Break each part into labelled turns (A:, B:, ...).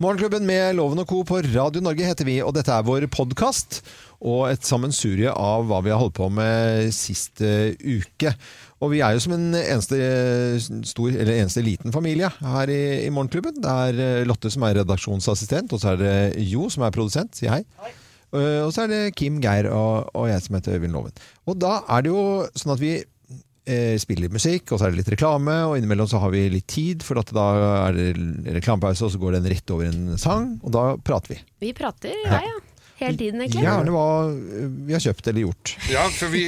A: Morgenklubben med Loven og Co. på Radio Norge heter vi, og dette er vår podkast. Og et sammensurie av hva vi har holdt på med sist eh, uke. Og vi er jo som en eneste, eh, stor, eller eneste liten familie her i, i Morgenklubben. Det er eh, Lotte som er redaksjonsassistent, og så er det Jo som er produsent. Si hei. Eh, Og så er det Kim, Geir og, og jeg som heter Øyvind Loven. Og da er det jo sånn at vi eh, spiller litt musikk, og så er det litt reklame, og innimellom så har vi litt tid, for at da er det reklamepause, og så går den rett over en sang, og da prater vi.
B: Vi prater, ja ja. Hele tiden, egentlig.
A: Gjerne hva eh, vi har kjøpt eller gjort.
C: Ja, for vi,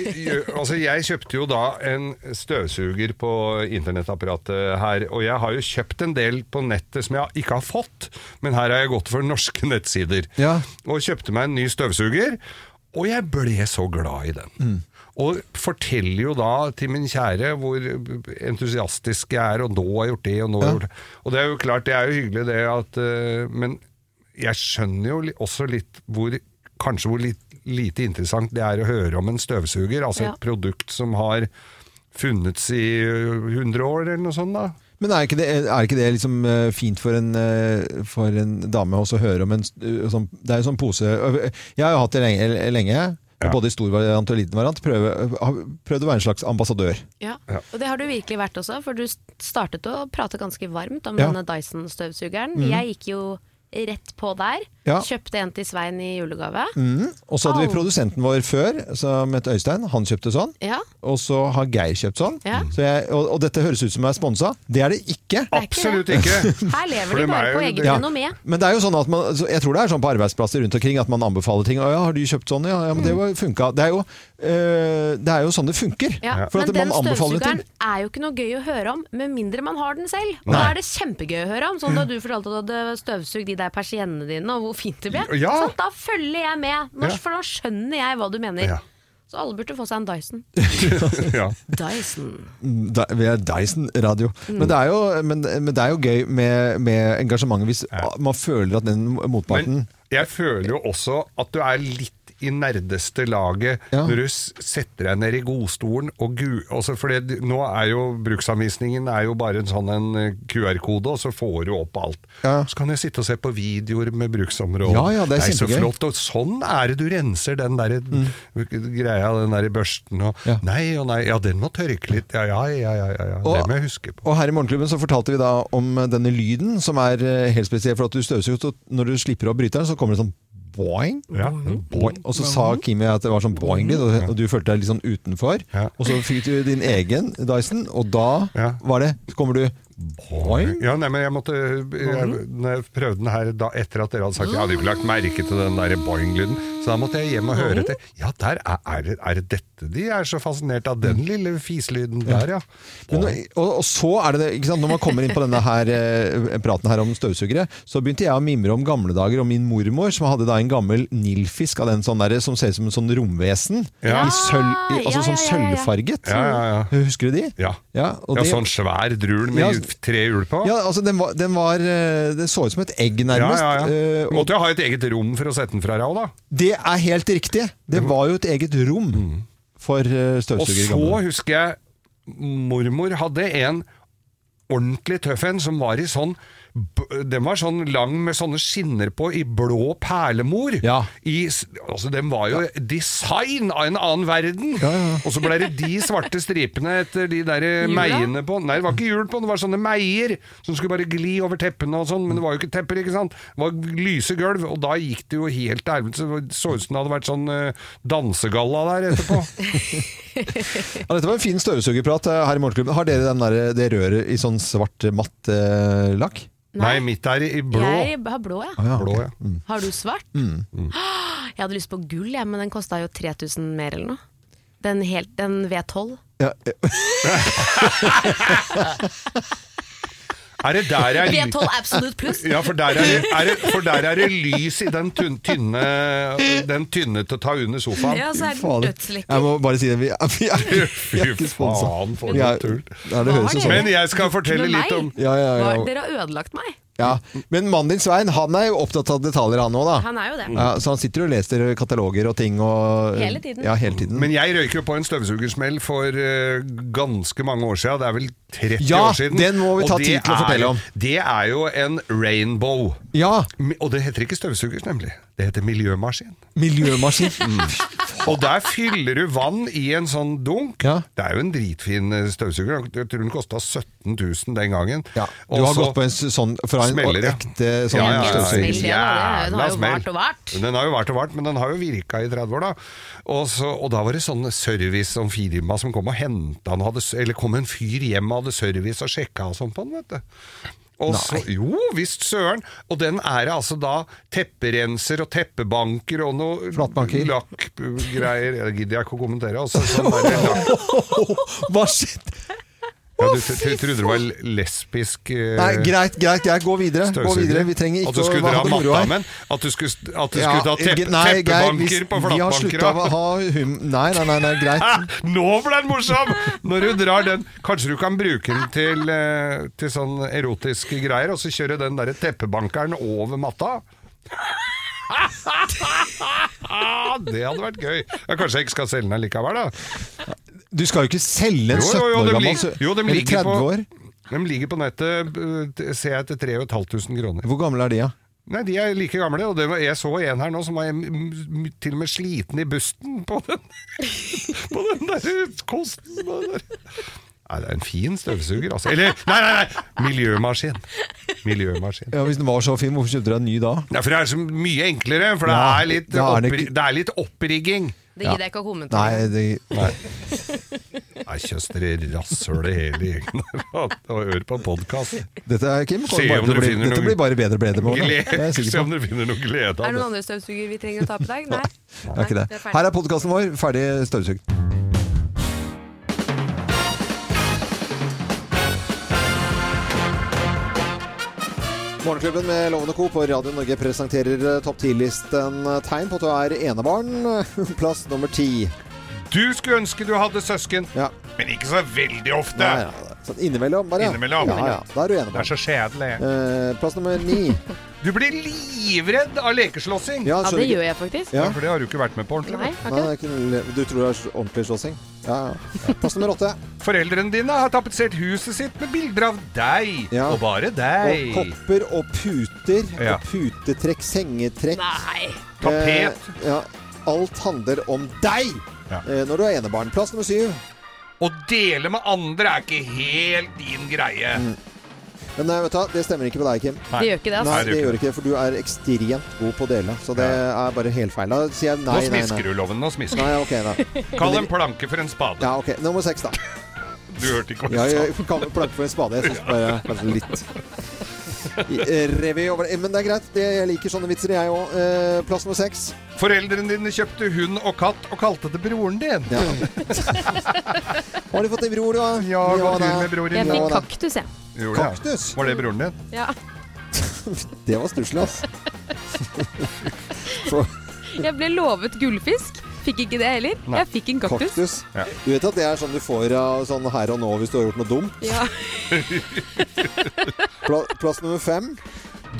C: altså jeg kjøpte jo da en støvsuger på internettapparatet her, og jeg har jo kjøpt en del på nettet som jeg ikke har fått, men her har jeg gått for norske nettsider.
A: Ja.
C: Og kjøpte meg en ny støvsuger, og jeg ble så glad i den. Og forteller jo da til min kjære hvor entusiastisk jeg er, og nå har jeg gjort det, og nå har jeg gjort det. Og det er jo klart, det er jo hyggelig det at eh, Men jeg skjønner jo li- også litt hvor Kanskje hvor litt, lite interessant det er å høre om en støvsuger, altså
B: Ja.
C: et produkt som har funnets i eh, 100 år, eller noe sånt, da.
A: Men er ikke det, er ikke det liksom eh, fint for en, eh, for en dame også å høre om en st- eh, sånn, Det er jo sånn pose Jeg har jo hatt det lenge, lenge både i stor variant og liten variant. Prøve, har prøvd å være en slags ambassadør.
B: Ja. Og det har du virkelig vært også, for du startet å prate ganske varmt om
A: Ja.
B: denne Dyson-støvsugeren. Jeg gikk jo rett på der.
A: Ja.
B: Kjøpte en til Svein i julegave.
A: Og så hadde vi
B: Au.
A: produsenten vår før, som het Øystein. Han kjøpte sånn.
B: Ja.
A: Og så har Geir kjøpt sånn.
B: Ja.
A: Så jeg, og, og dette høres ut som jeg er sponsa. Det er det ikke.
B: Det er ikke
C: Absolutt
B: det.
C: ikke!
B: Her
C: For
B: lever
C: det
B: de bare
C: er jo-
B: på eget
C: Ja.
B: renommé.
A: Men det er jo sånn at man, så jeg tror det er sånn på arbeidsplasser rundt omkring at man anbefaler ting. Å ja, har du kjøpt sånn? Ja, ja
B: Mm.
A: men det var- funka. Det er jo, øh, det er jo sånn det funker.
B: Ja.
A: For
B: Men
A: at
B: den
A: man anbefaler
B: støvsugeren
A: ting.
B: er jo ikke noe gøy å høre om, med mindre man har den selv. Og da
A: Nei.
B: er det kjempegøy å høre om. Sånn da du fortalte at du hadde støvsugd de der persiennene dine, og hvor fint det ble.
C: Ja.
B: Sånn, da følger jeg med, Nå-
C: Ja.
B: for nå skjønner jeg hva du mener.
C: Ja.
B: Så alle burde få seg en Dyson.
C: ja.
B: Dyson.
A: Da- Vi er Dyson radio.
B: Mm.
A: Men, det er jo, men, men det er jo gøy med, med engasjementet hvis man føler at den motparten
C: Men jeg føler jo også at du er litt i nerdeste laget
A: Ja.
C: når du s- setter deg ned i godstolen og gu... Også for det, nå er jo bruksanvisningen er jo bare en sånn en eh, QR-kode, og så får du opp alt.
A: Ja.
C: Så kan jeg sitte og se på videoer med bruksområder.
A: Ja, ja, det er
C: så
A: kjempegøy. Mm.
C: flott. Og sånn er det du renser den der greia, den der børsten og
A: Ja.
C: Nei og nei, ja, den må tørke litt. Ja, ja, ja, ja. ja, ja. det må jeg huske på.
A: Og her i Morgenklubben så fortalte vi da om denne lyden, som er eh, helt spesiell. For at du støvsuger, og når du slipper av bryteren, så kommer det sånn boing.
C: Ja.
A: boing. Og så sa Kimi at det var sånn boing-lyd, og- og du følte deg litt sånn utenfor.
C: Ja.
A: Og så fikk du din egen Dyson, og da
C: Ja.
A: var det Så kommer du boing.
C: Ja, nei, men jeg måtte eh, jeg, Når jeg prøvde den her da, etter at dere hadde sagt Jeg hadde jo ikke lagt merke til den der boing-lyden Så da måtte jeg hjem og høre etter Ja, der er, er, det, er det dette de er så fascinert av Den lille fislyden der, ja
A: Mm. Men, nå- og, og så er det det ikke sant? Når man kommer inn på denne her, eh, praten her om støvsugere, så begynte jeg å mimre om gamle dager og min mormor, som hadde da en gammel nilfisk av den sånn derre som ser ut som en sånn romvesen.
C: Ja.
A: I sølv, i,
B: Ah, Ja,
A: altså
B: ja,
A: sånn
B: ja, ja, ja.
A: sølvfarget.
C: Ja, ja,
A: Husker du de?
C: Ja, ja,
A: Ja, og de-
C: sånn svær drul med
A: Ja,
C: tre hjul på
A: Ja, altså den var, den var eh, Det så ut som et egg, nærmest.
C: ja, ja.
A: eh, og
C: Måtte jo ha et eget rom for å sette den fra deg også, da
A: det er helt riktig! Det var jo et eget rom for eh,
C: Og
A: støvsuger. i gamle
C: så
A: dager.
C: husker jeg mormor hadde en ordentlig tøff en som var i sånn b- den var sånn lang med sånne skinner på i blå perlemor.
A: Ja.
C: I, s- altså, den var jo design av en annen verden! Og så ble det de svarte stripene etter de der meiene på Nei, det var ikke hjul på den, det var sånne meier som skulle bare gli over teppene og sånn, men det var jo ikke tepper, ikke sant? Det var lyse gulv, og da gikk det jo helt til helvete. så det Så ut som det hadde vært sånn eh, dansegalla der etterpå.
A: Ja, dette var en fin støvsugerprat eh, her i Morgenklubben. Har dere den der, det røret i sånn svart eh, matt eh, lakk?
C: Nei, mitt er i blå.
B: Jeg har blå, jeg.
A: Ja,
C: blå
A: ok.
C: ja.
B: Har du svart?
A: Mm.
B: Ah, Jeg hadde lyst på gull, jeg, men den kosta jo 3000 mer eller noe. Den, helt, den V12.
A: Ja, eh,
C: Er det der jeg ly-
B: V12 Absolute Plus!
C: Ja, for der er, det- er det, for der er det lys i den tynne, tynne, den tynne til å ta under sofaen.
B: Ja, så er den
A: fader. Jeg
B: dødslekker.
A: må bare si det. Vi er, vi er, vi er
C: Fy
A: ikke sponsa.
C: faen, for
A: Ja,
C: noe tull.
A: ja, det høres jo
B: Hva
A: sånn
B: er
A: ut.
C: Men jeg skal fortelle litt om
A: Ja, ja, ja.
B: Dere har ødelagt meg.
A: Ja. Men mannen din Svein, han er jo opptatt av detaljer han òg, da.
B: Han er jo det.
A: Ja, så han sitter jo og leser kataloger og ting og
B: Hele tiden.
A: Ja, hele tiden.
C: Men jeg røyker jo på en støvsugersmell for eh, ganske mange år siden. Det er vel 30
A: Ja,
C: år siden.
A: den må vi
C: Og
A: ta
C: det
A: tid til å
C: er-
A: fortelle om.
C: Det er jo en rainbow.
A: Ja!
C: Mi- Og det heter ikke støvsugers, nemlig. Det heter miljømaskin.
A: Miljømaskin.
C: Mm. Og der fyller du vann i en sånn dunk.
A: Ja.
C: Det er jo en dritfin eh, støvsuger. Jeg tror den kosta 17 000 den gangen.
A: Ja. Du
C: Og
A: har
C: så-
A: gått på en s- sånn fra en
C: Smeller, ja.
A: ekte sånn
B: Ja, ja, ja.
A: støvsuger.
B: Smell, ja, det er jo- den har jo
C: Jævla smell.
B: vart og vart.
C: Den har jo vært og vært, men den har jo virka i 30 år, da. Og, så, og da var det sånn service sånn firma som kom og henta den, hadde, s- eller kom en fyr hjem og hadde service og sjekka og sånn på den, vet du. Og så, jo visst søren! Og den er det altså da tepperenser og teppebanker og noe
A: Flatbanker.
C: lakkgreier Det gidder jeg ikke å kommentere. Altså, sånn der, lakk.
A: Hva skjedde?
C: ja, du tr- tr- trodde det var lesbisk eh,
A: Nei, greit, greit, greit. Gå videre. Gå
C: Støvsuger.
A: videre. Vi trenger
C: At du
A: ikke
C: skulle
A: ha
C: dra
A: det moro her.
C: mattammen? At du skulle, at du
A: Ja,
C: skulle ta tepp,
A: ge- nei, Geir,
C: teppebanker
A: hvis-
C: på
A: Vi har slutta å
C: flatbankere?
A: ha hum... Nei, nei, nei, nei greit.
C: Ah, Nå ble den morsom! Når du drar den Kanskje du kan bruke den til, eh, til sånn erotiske greier, og så kjøre den derre teppebankeren over matta? Det hadde vært gøy. Ja, kanskje jeg ikke skal selge den likevel, da.
A: Du skal jo ikke selge en
C: Jo,
A: 17
C: jo, jo,
A: år
C: dem
A: gammel
C: lig-
A: sø-
C: jo, dem
A: Eller
C: ligger
A: 30
C: på-
A: år.
C: De ligger på nettet, eh, ser jeg, til 3500 kroner.
A: Hvor gammel er de, da?
C: Nei, de er like gamle, og det var, jeg så en her nå som var m- m- til og med sliten i busten på den, på den der kosten. Den der. Nei, det er en fin støvsuger, altså. Eller, nei, nei, nei! Miljømaskin. Miljømaskin.
A: Ja, hvis den var så fin, hvorfor kjøpte du deg en ny da?
C: Ja, for det er så mye enklere, for det
A: Ja,
C: er litt,
A: da er det
C: oppri,
A: ikke-
C: det er litt opprigging.
B: Det gidder jeg ikke å kommentere.
A: Nei, det,
C: Nei, kjøss dere rasshøl i hele gjengen der, og hør på podkast.
A: dette, er, Kim, kommer
C: Se
A: bare
C: om
A: til å
C: dere
A: bli,
C: finner
A: dette
C: noe-
A: blir bare bedre og bedre. Morten. Det er jeg
C: Se
A: sikker på.
C: om dere finner noe
B: Er
C: glede
B: det
C: av det.
B: noen andre støvsuger vi trenger å ta på deg? Nei.
A: Det er ikke det.
B: ferdig.
A: Her er podkasten vår, ferdig støvsugd. Morgenklubben med Lovende Co. på Radio Norge presenterer eh, topp 10-listen eh, tegn på at du er enebarn. Plass nummer ti.
C: Du skulle ønske du hadde søsken,
A: Ja.
C: men ikke så veldig ofte.
A: Ja, ja. Sånn innimellom, bare. ja.
C: Innimellom.
A: Ja, ja. Da er du
C: Det er
A: enebarn.
C: så kjedelig.
A: Eh, plass nummer ni.
C: Du blir livredd av lekeslåssing!
B: Ja,
A: Ja, skjønner
B: det
A: ikke-
B: gjør jeg faktisk.
A: Ja.
C: Ja, For det har du ikke vært med på ordentlig.
B: Nei, har ikke
A: Nei, det
B: det.
A: er ikke noe le- Du tror det er ordentlig slåssing? Ja, ja. Plass nummer åtte.
C: Foreldrene dine har tapetsert huset sitt med bilder av deg,
A: Ja.
C: og bare
A: Og
C: deg.
A: kopper og puter.
C: Ja.
A: Og putetrekk, sengetrekk.
B: Nei.
C: Tapet.
A: Eh, ja. Alt handler om deg
C: Ja.
A: eh, når du er enebarn. Plass nummer syv.
C: Å dele med andre er ikke helt din greie.
A: Mm. Men eh, vet du, hva, det stemmer ikke på deg, Kim.
B: Det gjør ikke det,
A: Nei,
B: altså.
A: det gjør ikke det, for du er ekstremt god på å dele. Så det er bare helfeil. Da sier jeg
C: Nå
A: nei, nei, nei.
C: smisker du, Loven. Nå smisker du.
A: Nei, ok, da.
C: Kall en planke for en spade.
A: Ja, ok. Nummer seks, da.
C: Du hørte ikke hva
A: Ja,
C: jeg sa.
A: jeg kan planke for en spade. Jeg syns bare kanskje litt I- eh, Revy over eh, Men det er greit. Det, jeg liker sånne vitser, jeg òg. Eh, plass nummer seks.
C: Foreldrene dine kjøpte hund og katt og kalte det broren din.
A: Ja. Har du fått en bror, du, da?
C: Ja, gå tur
A: da.
C: med bror
B: Jeg
C: din.
A: Ja,
B: fikk
A: da.
B: kaktus, jeg.
C: Gjorde jeg.
A: Kaktus.
C: Var det broren din?
B: Ja.
A: Det var stusslig, ass.
B: Jeg ble lovet gullfisk. Fikk ikke det heller. Jeg fikk en kaktus.
A: Kaktus.
C: Ja.
A: Du vet at det er sånn du får av sånn her og nå hvis du har gjort noe dumt?
B: Ja.
A: Pla plass nummer fem.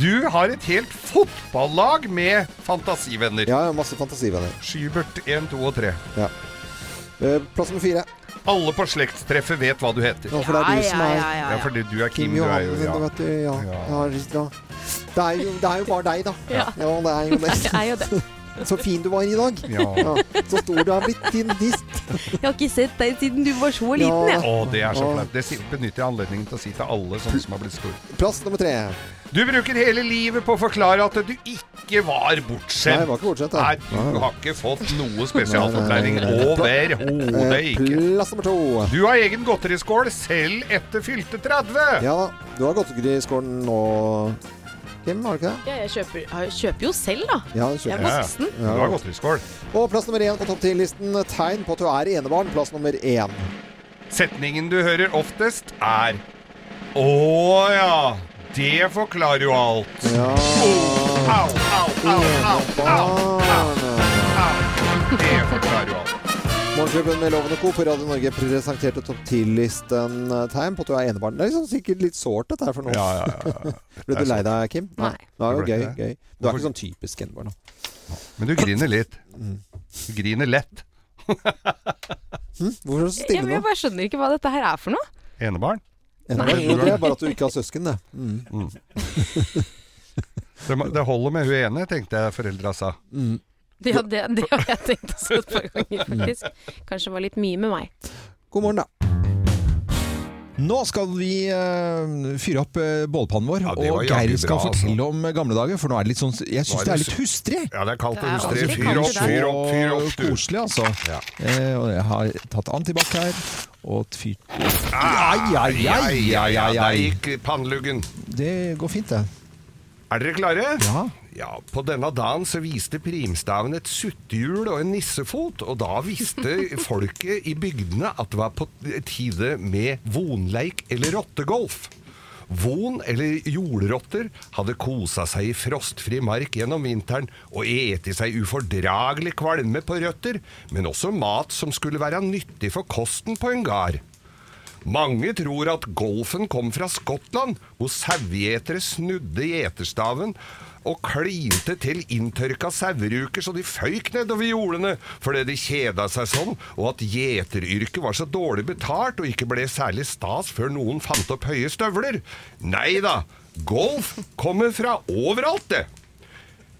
C: Du har et helt fotballag med fantasivenner.
A: Ja, jeg har masse fantasivenner.
C: Skybert 1, 2 og 3.
A: Ja. Eh, Plass nummer fire.
C: Alle på slektstreffet vet hva du heter.
A: Nå, for det er du som er
C: Ja, fordi du er Kim,
A: Kim
C: du er
A: Johansen,
C: jo ja.
A: vet du. Ja.
C: Ja.
A: Ja. ja. Det, er jo, det er jo bare deg, da.
B: Ja.
A: det er jo
B: Jeg er jo det.
A: det. Så fin du var i dag.
C: ja.
A: Ja. Så stor du har blitt, din dist.
B: Jeg har ikke sett deg siden du var så liten,
A: Ja.
B: jeg.
C: Å, det er så
A: Å.
C: flaut. Det si- benytter jeg anledningen til å si til alle sånne som har blitt store.
A: Plass nummer tre.
C: Du bruker hele livet på å forklare at du ikke var
A: Nei, jeg
C: bortskjemt.
A: var ikke bortsett.
C: Nei,
A: jeg.
C: du har ikke fått noe
A: Nei,
C: spesialforklaring.
A: nei, nei, nei.
C: Overhodet
A: Eh,
C: ikke.
A: Plass nummer to.
C: Du har egen godteriskål selv etter fylte 30.
A: Ja da. Du har godteriskålen nå, Kim, har du ikke det?
B: Ja, jeg kjøper, jeg kjøper jo selv, da.
A: Ja, det
B: Jeg
A: kjøper
B: er voksen.
C: Du har godteriskål.
A: Og plass nummer én på topp 10-listen. Tegn på at du er enebarn. Plass nummer én.
C: Setningen du hører oftest, er Å ja, det forklarer jo alt.
A: Ja
C: Au, au, au, au, au, au.
A: Enebarn.
C: Det forklarer jo alt.
A: Morgenklubben med Loven og Co. på Radio Norge presenterte topp 10-listen eh, tegn på at du er enebarn. Det er liksom sikkert litt sårt dette her for noen.
C: Ja, ja, ja, ja.
A: Ble du lei deg, Kim?
B: Nei.
A: Det var jo
C: Jeg
A: gøy.
C: ble ikke
A: gøy. Du er ikke sånn typisk enebarn. da.
C: Men du griner litt. Du griner lett.
A: Hvorfor er du så
B: Ja,
A: stille
B: men jeg
A: nå?
B: bare skjønner ikke hva dette her er for noe.
C: Enebarn.
A: Enebarn,
C: Nei.
A: det er bare at du ikke har søsken, det. Mm.
C: Det, må- det holder med hun ene, tenkte jeg foreldra sa.
B: Det, det, det har jeg tenkt også et par ganger, faktisk. Kanskje det var litt mye med meg.
A: God morgen, da. Nå skal vi eh, fyre opp eh, bålpannen vår,
C: Ja, det var
A: og
C: jaggu
A: Geir skal
C: bra, altså.
A: fortelle om eh, gamle dager. For nå er det litt sånn Jeg
C: Nå
A: syns det
C: er det
A: er litt hustrig.
C: Ja, det er kaldt
B: Det er
C: og hustrig.
B: ordentlig
C: Fyr opp,
B: kaldt i
C: fyr opp, fyr opp,
A: Og
C: du.
A: koselig, altså.
C: Ja.
A: Eh, og jeg har tatt antibac her. Og et fyrt Ai, ai, ai, ai, ai,
C: Der
A: ai.
C: gikk panneluggen.
A: Det går fint, det.
C: Er dere klare?
A: Ja.
C: Ja, På denne dagen så viste primstaven et suttehjul og en nissefot, og da visste folket i bygdene at det var på tide med vonleik eller rottegolf. Von eller jordrotter hadde kosa seg i frostfri mark gjennom vinteren og eti seg ufordragelig kvalme på røtter, men også mat som skulle være nyttig for kosten på en gard. Mange tror at golfen kom fra Skottland, hvor sauegjetere snudde gjeterstaven og klinte til inntørka saueruker så de føyk nedover jordene fordi de kjeda seg sånn, og at gjeteryrket var så dårlig betalt og ikke ble særlig stas før noen fant opp høye støvler. Nei da, golf kommer fra overalt, det.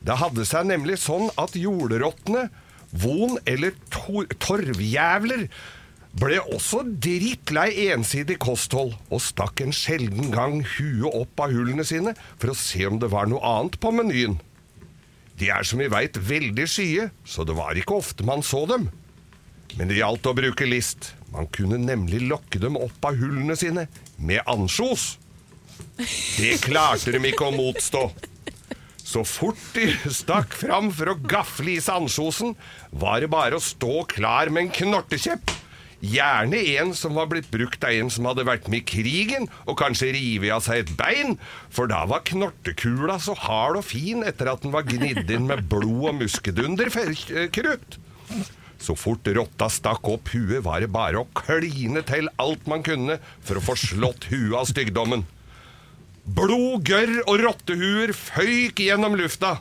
C: Det hadde seg nemlig sånn at jordrottene, von eller tor torvjævler, ble også drittlei ensidig kosthold og stakk en sjelden gang huet opp av hullene sine for å se om det var noe annet på menyen. De er som vi veit veldig skye, så det var ikke ofte man så dem. Men det gjaldt å bruke list. Man kunne nemlig lokke dem opp av hullene sine med ansjos. Det klarte de ikke å motstå. Så fort de stakk fram for å gafle i seg ansjosen, var det bare å stå klar med en knortekjepp. Gjerne en som var blitt brukt av en som hadde vært med i krigen og kanskje revet av seg et bein, for da var knortekula så hard og fin etter at den var gnidd inn med blod og muskedunderkrutt. Så fort rotta stakk opp huet, var det bare å kline til alt man kunne for å få slått huet av styggdommen. Blod, gørr og rottehuer føyk gjennom lufta.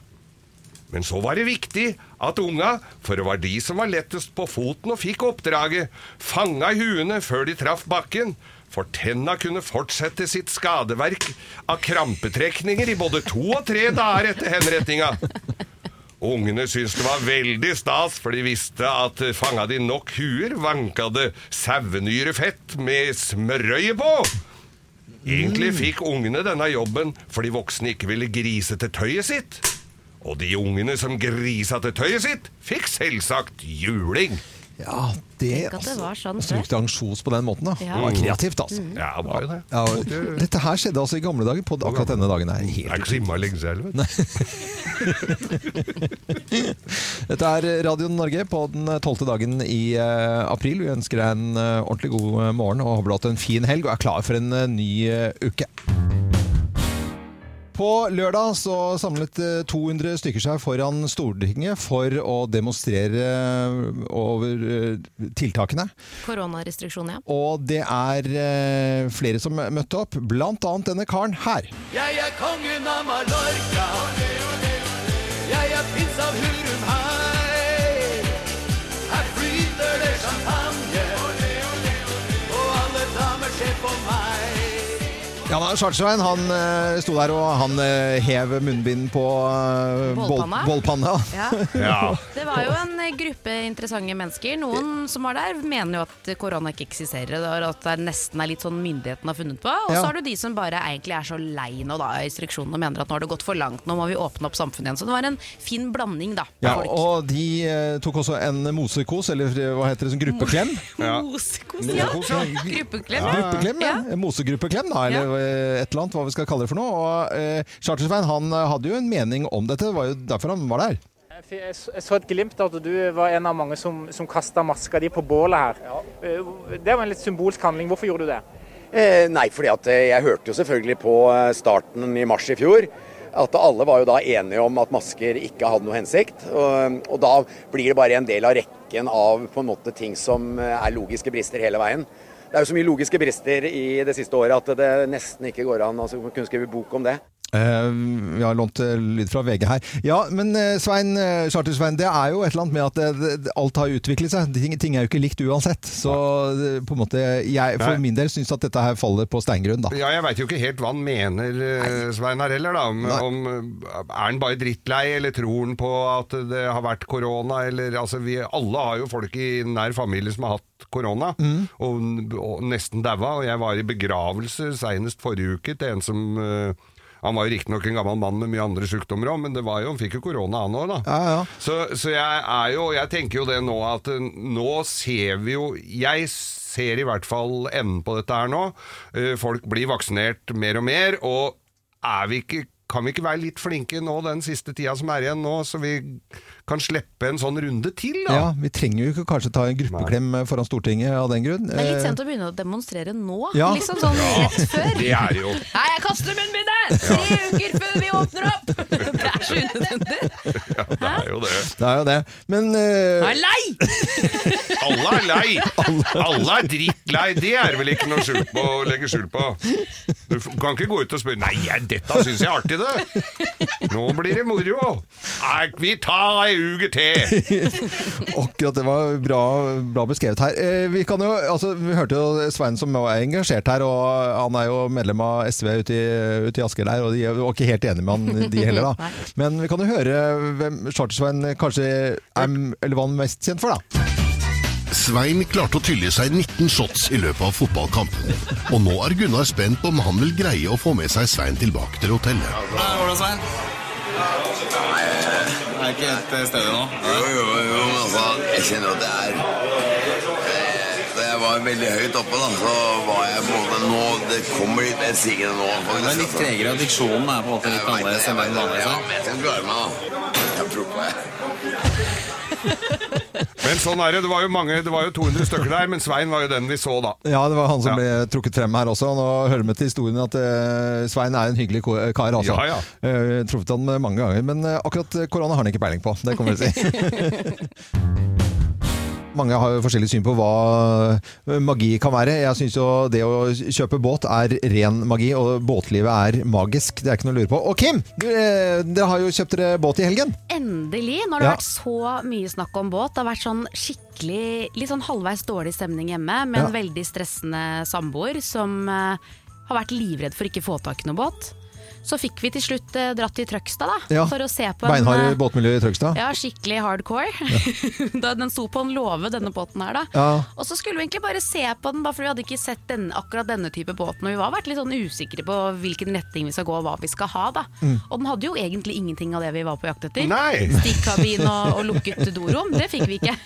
C: Men så var det viktig at unga, for det var de som var lettest på foten og fikk oppdraget, fanga huene før de traff bakken, for tenna kunne fortsette sitt skadeverk av krampetrekninger i både to og tre dager etter henrettinga. Ungene syntes det var veldig stas, for de visste at fanga de nok huer, vanka det sauenyrefett med smørøye på. Egentlig fikk ungene denne jobben fordi voksne ikke ville grise til tøyet sitt. Og de ungene som grisa til tøyet sitt, fikk selvsagt juling.
A: Ja, det
B: Tenk at det var sånn
A: altså, Brukte ansjos på den måten, da.
B: Ja. Mm.
A: Det var kreativt, altså.
C: Ja, det var jo det.
A: Ja, og dette her skjedde altså i gamle dager på akkurat denne dagen her.
C: Det
A: Helt
C: er ikke så innmari lenge siden. vet du.
A: Dette er Radio Norge på den tolvte dagen i eh, april. Vi ønsker deg en eh, ordentlig god eh, morgen og håper du har hatt en fin helg og er klar for en eh, ny eh, uke. På lørdag så samlet eh, 200 stykker seg foran Stortinget for å demonstrere eh, over eh, tiltakene.
B: Koronarestriksjoner, ja.
A: Og det er eh, flere som møtte opp, blant annet denne karen her.
D: Jeg er kongen av Mallorca. Jeg er prins av Hurumhei. Her flyter det champagne, og alle damer ser på meg.
A: Ja, da, Svartsveien han eh, sto der og han eh, hev munnbind på eh, bol-
B: Bollpanna.
A: bollpanna.
C: Ja.
B: Det var jo en eh, gruppe interessante mennesker. Noen som var der, mener jo at korona ikke eksisterer, og at det nesten er litt sånn myndighetene har funnet på. Og
A: Ja.
B: så har du de som bare egentlig er så lei nå da, av restriksjonene og mener at nå har det gått for langt, nå må vi åpne opp samfunnet igjen. Så det var en fin blanding, da. av
A: Ja,
B: folk.
A: og de eh, tok også en mosekos, eller hva heter det, sånn gruppeklem?
C: Ja.
B: Mosekos, ja.
C: Mosekos, ja.
B: Gruppeklem.
A: Gruppeklem, ja. Mosegruppeklemmen, da, eller eh, et eller annet, hva vi skal kalle det for noe. Og eh, Chartersveien, han eh, hadde jo en mening om dette, det var jo derfor han var der.
E: Jeg fi- Jeg så- jeg så et glimt at du var en av mange som, som kasta maska di på bålet her. Eh, Det var en litt symbolsk handling. Hvorfor gjorde du det?
F: Eh, nei, fordi at eh, jeg hørte jo selvfølgelig på eh, starten i mars i fjor. at alle var jo da enige om at masker ikke hadde noe hensikt. Og, og da blir det bare en del av rekken av på en måte ting som eh, er logiske brister hele veien. Det er jo så mye logiske brister i det siste året at det nesten ikke går an å altså, kunne skrive bok om det.
A: Eh, vi har lånt eh, lyd fra VG her. Ja, men eh, Svein, eh, Charter-Svein, det er jo et eller annet med at eh, det- alt har utviklet seg. Ting, ting er jo ikke likt uansett. Så eh, på en måte, jeg for
C: Nei.
A: min del syns at dette her faller på steingrunn, da.
C: Ja, jeg veit jo ikke helt hva han mener, eh, Sveinar heller, da. Om, om, eh, er han bare drittlei, eller tror han på at det har vært korona, eller altså vi, Alle har jo folk i nær familie som har hatt korona,
A: Mm.
C: og, og nesten daua. Og jeg var i begravelse seinest forrige uke til en som eh, han var jo riktignok en gammel mann med mye andre sykdommer òg, men det var jo, han fikk jo korona han òg, da.
A: Ja, ja.
C: Så, så jeg er jo Jeg tenker jo det nå at eh, nå ser vi jo Jeg ser i hvert fall enden på dette her nå. Eh, Folk blir vaksinert mer og mer, og er vi ikke kan vi ikke være litt flinke nå den siste tida som er igjen nå, så vi kan slippe en sånn runde til, da?
A: Ja, Vi trenger jo ikke kanskje ta en gruppeklem eh, foran Stortinget av den grunn.
G: Det er litt
A: Eh,
G: sent å begynne å demonstrere nå.
A: Ja.
G: Liksom sånn rett før.
C: Det er jo
G: Nei, jeg kaster munnbindet! Tre uker før vi åpner opp! Det er så unødvendig.
C: ja, det. Er jo det.
A: det er jo det. Men eh,
G: Jeg er lei!
C: Alle er lei! Alle er drittlei! Det er vel ikke noe skjul på å legge skjul på. Du f- kan ikke gå ut og spørre 'Nei, jeg, dette syns jeg er artig, det'. Nå blir det moro! Nei, vi tar ei uke til!
A: Akkurat, det var bra, bra beskrevet her. Eh, vi, kan jo, altså, vi hørte jo Svein som er engasjert her, og han er jo medlem av SV ute i, ute i Asker der, og de var ikke helt enige med han de heller da. Men vi kan jo høre hvem Charter-Svein kanskje er, eller hva han er mest kjent for da.
H: Svein klarte å tylle seg 19 shots i løpet av fotballkampen. Og nå er Gunnar spent på om han vil greie å få med seg Svein tilbake til hotellet.
I: Hvordan går det, Svein? Nei, jeg er ikke helt til stede nå.
J: Jo, jo, jo, men altså, jeg kjenner at det er eh, Da jeg var veldig høyt oppe, da, så var jeg på en måte nå Det kommer litt mer sigende nå.
I: Du er litt tregere, og diksjonen er på en måte
J: Jeg
I: litt
J: vet det, jeg
I: annerledes enn den
J: vet det. Ja,
I: vanlige. Svein.
J: men jeg skal klare meg, da. Jeg tror på det.
C: Men sånn er det. Det var jo mange, det var jo 200 stykker der, men Svein var jo den vi så, da.
A: Ja, det var han som
C: Ja.
A: ble trukket frem her også. Nå hører vi til historien at eh, Svein er en hyggelig ko- kar, altså.
C: Ja, ja.
A: Eh, truffet han mange ganger, men eh, akkurat korona har han ikke peiling på, det kan vi vel si. Mange har jo forskjellig syn på hva eh, magi kan være. Jeg syns jo det å kjøpe båt er ren magi, og båtlivet er magisk. Det er ikke noe å lure på. Og Kim, du, eh, dere har jo kjøpt dere båt i helgen.
G: Endelig, nå har det
A: Ja.
G: vært så mye snakk om båt. Det har vært sånn skikkelig, litt sånn halvveis dårlig stemning hjemme, med en
A: Ja.
G: veldig stressende samboer som eh, har vært livredd for ikke å få tak i noe båt. Så fikk vi til slutt eh, dratt til Trøgstad, da,
A: Ja.
G: for å se på en
A: Beinharde
G: eh,
A: båtmiljø i Trøgstad.
G: Ja, skikkelig hardcore. da den sto på en låve, denne båten her, da.
A: Ja.
G: Og så skulle vi egentlig bare se på den, bare fordi vi hadde ikke sett den, akkurat denne type båten. Og vi var vært litt sånn usikre på hvilken retning vi skal gå, og hva vi skal ha, da.
A: Mm.
G: Og den hadde jo egentlig ingenting av det vi var på jakt etter.
C: Nei.
G: Stikkabin og, og lukket dorom, det fikk vi ikke.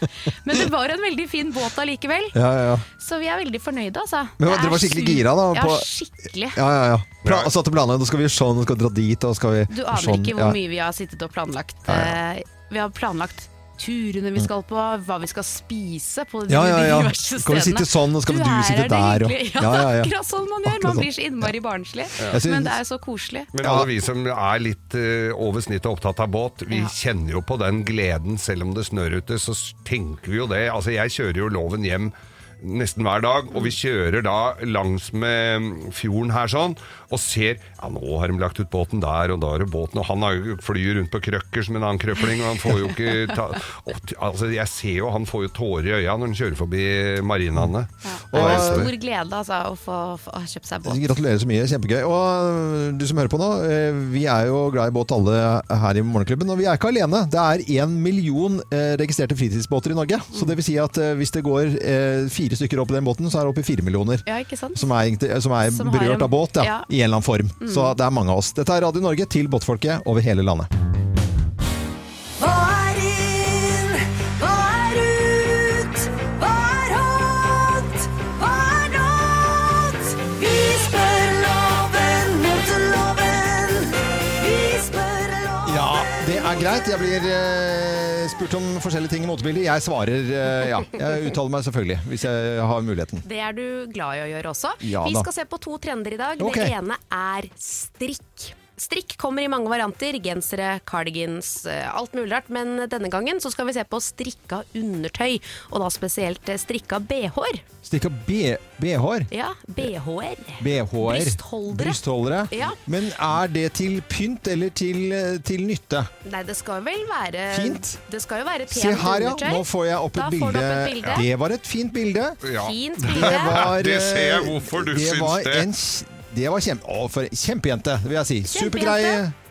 G: Men det var en veldig fin båt allikevel,
A: Ja, ja, ja.
G: så vi er veldig fornøyde, altså.
A: Men
G: Det
A: dere
G: er
A: var skikkelig
G: su-
A: gira da,
G: Ja,
A: på-
G: skikkelig.
A: Ja, ja, ja. Pra, satte planer, nå skal vi sånn, nå skal vi dra dit, og skal vi
G: Du aner
A: sånn, ja.
G: ikke hvor mye vi har sittet og planlagt. Eh, Vi har planlagt turene vi skal på, hva vi skal spise på
A: Mm.
G: de,
A: Ja, ja, ja.
G: de diverse stedene.
A: Skal vi sitte sånn, og skal du
G: her
A: sitte
G: er det
A: der, og-
G: hyggelig.
A: Ja,
G: Ja,
A: ja, ja.
G: akkurat sånn man gjør.
A: Akkurat sånn.
G: Man blir så innmari barnslig.
A: Jeg synes-
G: Men det er jo så koselig.
C: Men alle vi som er litt eh, over snittet opptatt av båt, vi
G: Ja.
C: kjenner jo på den gleden. Selv om det snør ute, så s- tenker vi jo det. Altså, jeg kjører jo loven hjem nesten hver dag, og vi
G: Mm.
C: kjører da langs med mm, fjorden her sånn, og ser Ja, nå har de lagt ut båten der, og da er det båten, og han har jo- flyr rundt på krøkker som en annen krøpling, og han får jo ikke ta Å, t- Altså, jeg ser jo, han får jo tårer i øya når han kjører forbi
G: Mm.
C: marinaene.
G: Det
A: Og-
G: er en stor glede altså, å få, få å kjøpt seg båt.
A: Gratulerer så mye, kjempegøy. Og du som hører på nå, eh, vi er jo glad i båt alle her i Morgenklubben. Og vi er ikke alene. Det er én million eh, registrerte fritidsbåter i Norge. Så det vil si at eh, hvis det går eh, fire stykker opp i den båten, så er det oppe i fire millioner.
G: Ja, ikke sant?
A: Som er, egentlig- øh, som er
G: Som har
A: berørt
G: en-
A: av båt, ja,
G: ja. Mm.
A: i en eller annen form. Så det er mange av oss. Dette er Radio Norge til båtfolket over hele landet.
K: Hva er inn? Hva er ut? Hva er hot? Hva er not? Vi spør loven mot loven. Vi spør loven
A: Ja, det er greit. Jeg blir eh, spurt om forskjellige ting i motebildet. Jeg svarer eh, ja. Jeg uttaler meg selvfølgelig, hvis jeg har muligheten.
G: Det er du glad i å gjøre også.
A: Ja
G: vi
A: da.
G: skal se på to trender i dag.
A: Ok.
G: Det ene er strikk. Strikk kommer i mange varianter. Gensere, cardigans, eh, alt mulig rart. Men denne gangen så skal vi se på strikka undertøy, og da spesielt eh, strikka bh-er.
A: Stikk av B- BH-er.
G: Ja, bh-er.
A: BH-er.
G: Brystholdere.
A: Brystholdere.
G: Ja.
A: Men er det til pynt eller til, eh, til nytte?
G: Nei, det skal vel være
A: Fint.
G: Det skal jo være pent
A: Se her, ja.
G: undertøy.
A: Nå får jeg opp
G: Da
A: et
G: får du
A: bilde.
G: opp et bilde.
A: Det var et fint bilde.
G: Ja. Fint
A: Det
G: bilde.
A: var, eh,
C: Det ser jeg hvorfor du syns
A: var
C: det.
A: En, kj- det var kjempe, å, for, kjempejente, vil jeg si. Supergrei.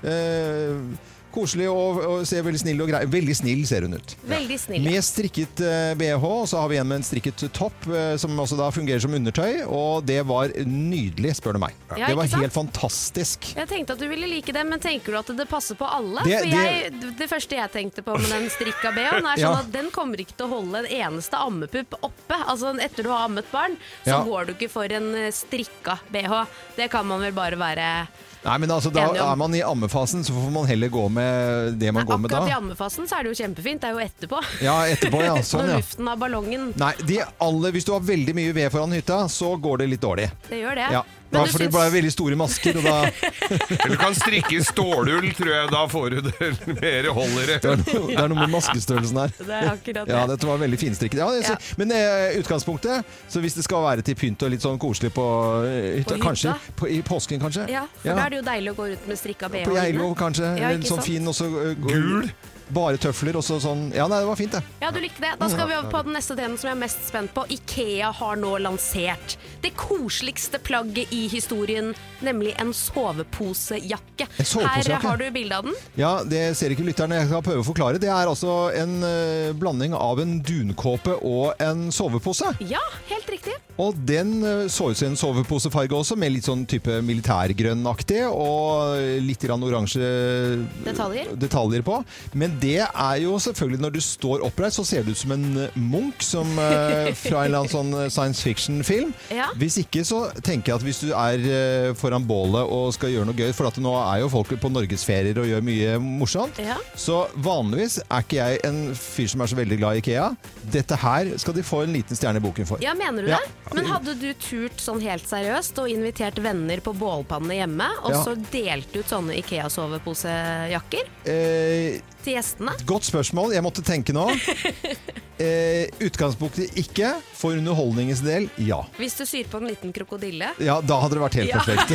A: Eh, koselig og, og ser veldig snill og grei. Veldig snill ser hun ut.
G: Veldig snill.
A: Med strikket eh, BH, og så har vi en med en strikket topp, eh, som også da fungerer som undertøy. Og det var nydelig, spør du meg.
G: Ja,
A: det
G: ikke
A: var
G: sant?
A: helt fantastisk.
G: Jeg tenkte at du ville like det, men tenker du at det passer på alle?
A: Det-
G: For jeg, det første jeg tenkte på med den strikka BH-en, er sånn
A: Ja.
G: at den kommer ikke til å holde en eneste ammepupp oppe. Altså etter du har ammet barn, så
A: Ja.
G: går du ikke for en eh, strikka BH. Det kan man vel bare være
A: Nei, men altså, da
G: Enig om.
A: er man i ammefasen, så får man heller gå med det man går med
G: Akkurat i
A: da.
G: ammefasen så er det jo kjempefint, det er jo etterpå.
A: Ja, etterpå, ja. Sånn,
G: Når
A: ja.
G: luften av ballongen
A: Nei, de alle, hvis du har veldig mye ved foran hytta, så går det litt dårlig.
G: Det gjør det.
A: Ja,
G: Men
A: da
G: du
A: får du
G: syns-
A: bare veldig store masker, og da
C: Eller du kan strikke i stålull, tror jeg. Da får du det mer holdere.
A: Det er noe, det er noe med maskestørrelsen her.
G: Det er akkurat det.
A: Ja, dette var veldig finstrikket. Ja, det-
G: Ja.
A: Men eh, utgangspunktet, så hvis det skal være til pynt og litt sånn koselig på eh, hytta,
G: På hytta?
A: kanskje på, i påsken, kanskje?
G: Ja, for da er det jo deilig å gå rundt med strikka BH.
A: På Geilo, kanskje.
G: Ja,
A: eller
G: ikke
A: sånn
G: sant?
A: fin, og så eh, Gul? Bare tøfler, og så sånn Ja, nei, det var fint, det.
G: Ja, du likte det. Da skal vi over på den neste temaen som jeg er mest spent på. Ikea har nå lansert det koseligste plagget i historien, nemlig en soveposejakke.
A: En soveposejakke?
G: Her har du bilde av den.
A: Ja, Det ser ikke lytterne. Jeg skal prøve å forklare. Det er altså en eh, blanding av en dunkåpe og en sovepose.
G: Ja, helt riktig.
A: Og den eh, så ut som en soveposefarge også, med litt sånn type militærgrønnaktig og litt grann oransje eh,
G: Detaljer.
A: detaljer på. Men det er jo selvfølgelig, når du står oppreist, så ser du ut som en eh, munk som, eh, fra en eller annen sånn eh, science fiction-film.
G: Ja.
A: Hvis ikke så tenker jeg at hvis du er eh, foran bålet og skal gjøre noe gøy, for at nå er jo folk på norgesferier og gjør mye morsomt,
G: Ja.
A: så vanligvis er ikke jeg en fyr som er så veldig glad i Ikea. Dette her skal de få en liten stjerne i boken for.
G: Ja, mener du
A: Ja.
G: det? Men hadde du turt sånn helt seriøst og invitert venner på bålpannene hjemme, og
A: Ja.
G: så delt ut sånne Ikea-soveposejakker
A: Eh,
G: til gjestene?
A: godt spørsmål, jeg måtte tenke nå. Eh, utgangspunktet ikke, for underholdningens del, ja.
G: Hvis du syr på en liten krokodille,
A: Ja, da hadde det vært helt
G: Ja.
A: perfekt.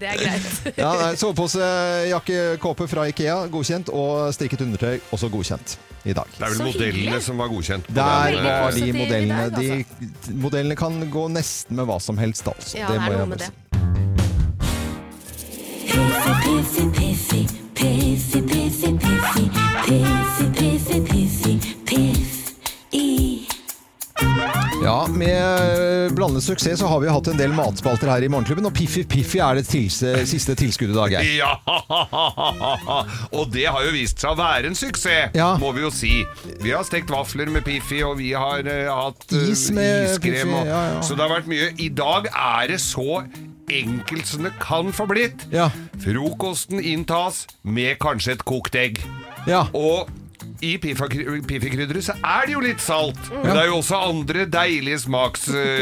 G: det er greit.
A: Ja, nei, Soveposejakke, kåpe fra Ikea, godkjent, og strikket undertøy, også godkjent i dag.
C: Det er vel
G: Så
C: modellene
G: hyggelig.
C: som var godkjent. på
A: Der
C: den,
A: var
C: eh,
A: de
G: positiv i
A: modellene.
G: dag, altså.
A: De modellene kan gå nesten med hva som helst, altså.
G: Ja, det
A: må jeg
G: er noe
A: bare
G: med
A: si.
G: det.
K: Piffi, piffi, piffi, piffi, piffi, piffi, piffi, piffi, piff i
A: Ja, med eh, blandet suksess så har vi hatt en del matspalter her i Morgenklubben, og Piffi Piffi er det tilse, siste tilskuddet i dag. Geir.
C: Ja! Og det har jo vist seg å være en suksess,
A: Ja.
C: må vi jo si. Vi har stekt vafler med Piffi, og vi har eh, hatt eh,
A: Is med
C: iskrem.
A: Piffi,
C: og,
A: ja, ja.
C: Så det har vært mye. I dag er det så enkelt som det kan få blitt.
A: Ja.
C: Frokosten inntas med kanskje et kokt egg.
A: Ja.
C: Og i piffa- piffekrydderet så er det jo litt salt, men
A: Ja.
C: det er jo også andre deilige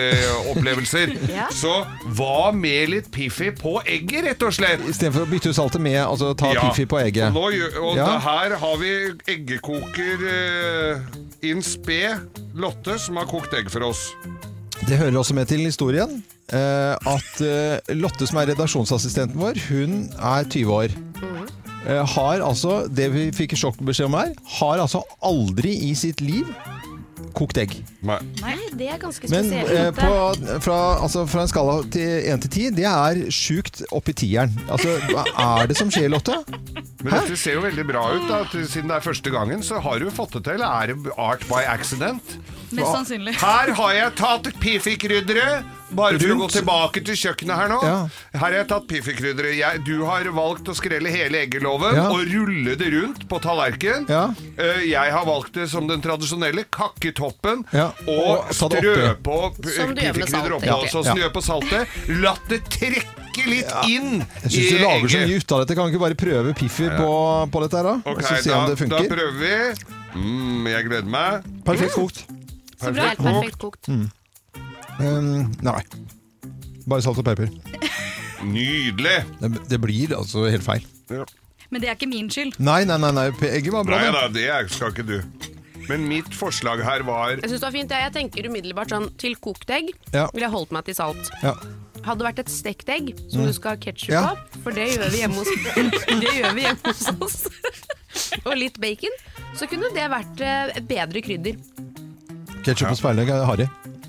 C: smaksopplevelser.
G: Ja.
C: Så hva med litt Piffi på egget, rett og slett?
A: Istedenfor å bytte ut saltet med, altså ta
C: Ja.
A: Piffi på egget.
C: Og, nå, gjør- og
A: Ja.
C: da- her har vi eggekoker eh, in spe Lotte, som har kokt egg for oss.
A: Det hører også med til historien eh, at eh, Lotte, som er redaksjonsassistenten vår, hun er 20 år. Eh, har altså, det vi fikk sjokkbeskjed om her, har altså aldri i sitt liv kokt egg.
C: Nei.
G: Nei, det er ganske
A: Men
G: spesielt.
A: eh, på, fra, altså, fra en skala til 1 til 10, det er sjukt oppi tieren. Altså, hva er det som skjer, Lotte?
C: Men dette ser jo veldig bra ut. da at Siden det er første gangen, så har du jo fått det til. Er det art by accident?
L: Mest sannsynlig.
C: Her har jeg tatt Piffi-krydderet. Bare for å gå
A: Rundt.
C: tilbake til kjøkkenet her nå.
A: Ja.
C: Her har jeg tatt Piffi-krydderet. Jeg- Du har valgt å skrelle hele eggeloven
A: Ja.
C: og rulle det rundt på tallerken.
A: Ja.
C: Eh, Jeg har valgt det som den tradisjonelle. Kakke toppen
A: Ja,
C: og,
A: og ta det
C: strø
A: oppi.
C: på p-
G: Som du gjør med
C: Piffi-krydder
G: salt,
C: oppå.
A: egentlig.
C: Så
A: Ja.
C: snø på saltet. La det trekke litt inn
A: Jeg syns du lager så mye ut av dette. Kan vi ikke bare prøve Piffi på, på dette her, da?
C: Ok,
A: og så se
C: da,
A: om det
C: da
A: funker.
C: prøver vi. Mm, jeg gleder meg.
A: Perfekt kokt.
G: Så bra. Helt perfekt kokt.
A: Ehm, Um, nei. Bare salt og pepper.
C: Nydelig!
A: Det, det blir altså helt feil.
L: Men det er ikke min skyld.
A: Nei, nei, nei. nei Per Egge var bra.
C: Nei
A: men-
C: da, det er- skal ikke du. Men mitt forslag her var
G: Jeg synes det var fint. jeg. Jeg tenker umiddelbart sånn til kokt egg
C: Ja.
G: ville jeg holdt meg til salt.
A: Ja.
G: Hadde det vært et stekt egg som
A: Mm.
G: du skal ha ketsjup
A: Ja.
G: på, for det gjør vi hjemme hos, det gjør vi hjemme hos oss, og litt bacon, så kunne det vært eh, bedre krydder.
A: Ketchup og speilegg er harry.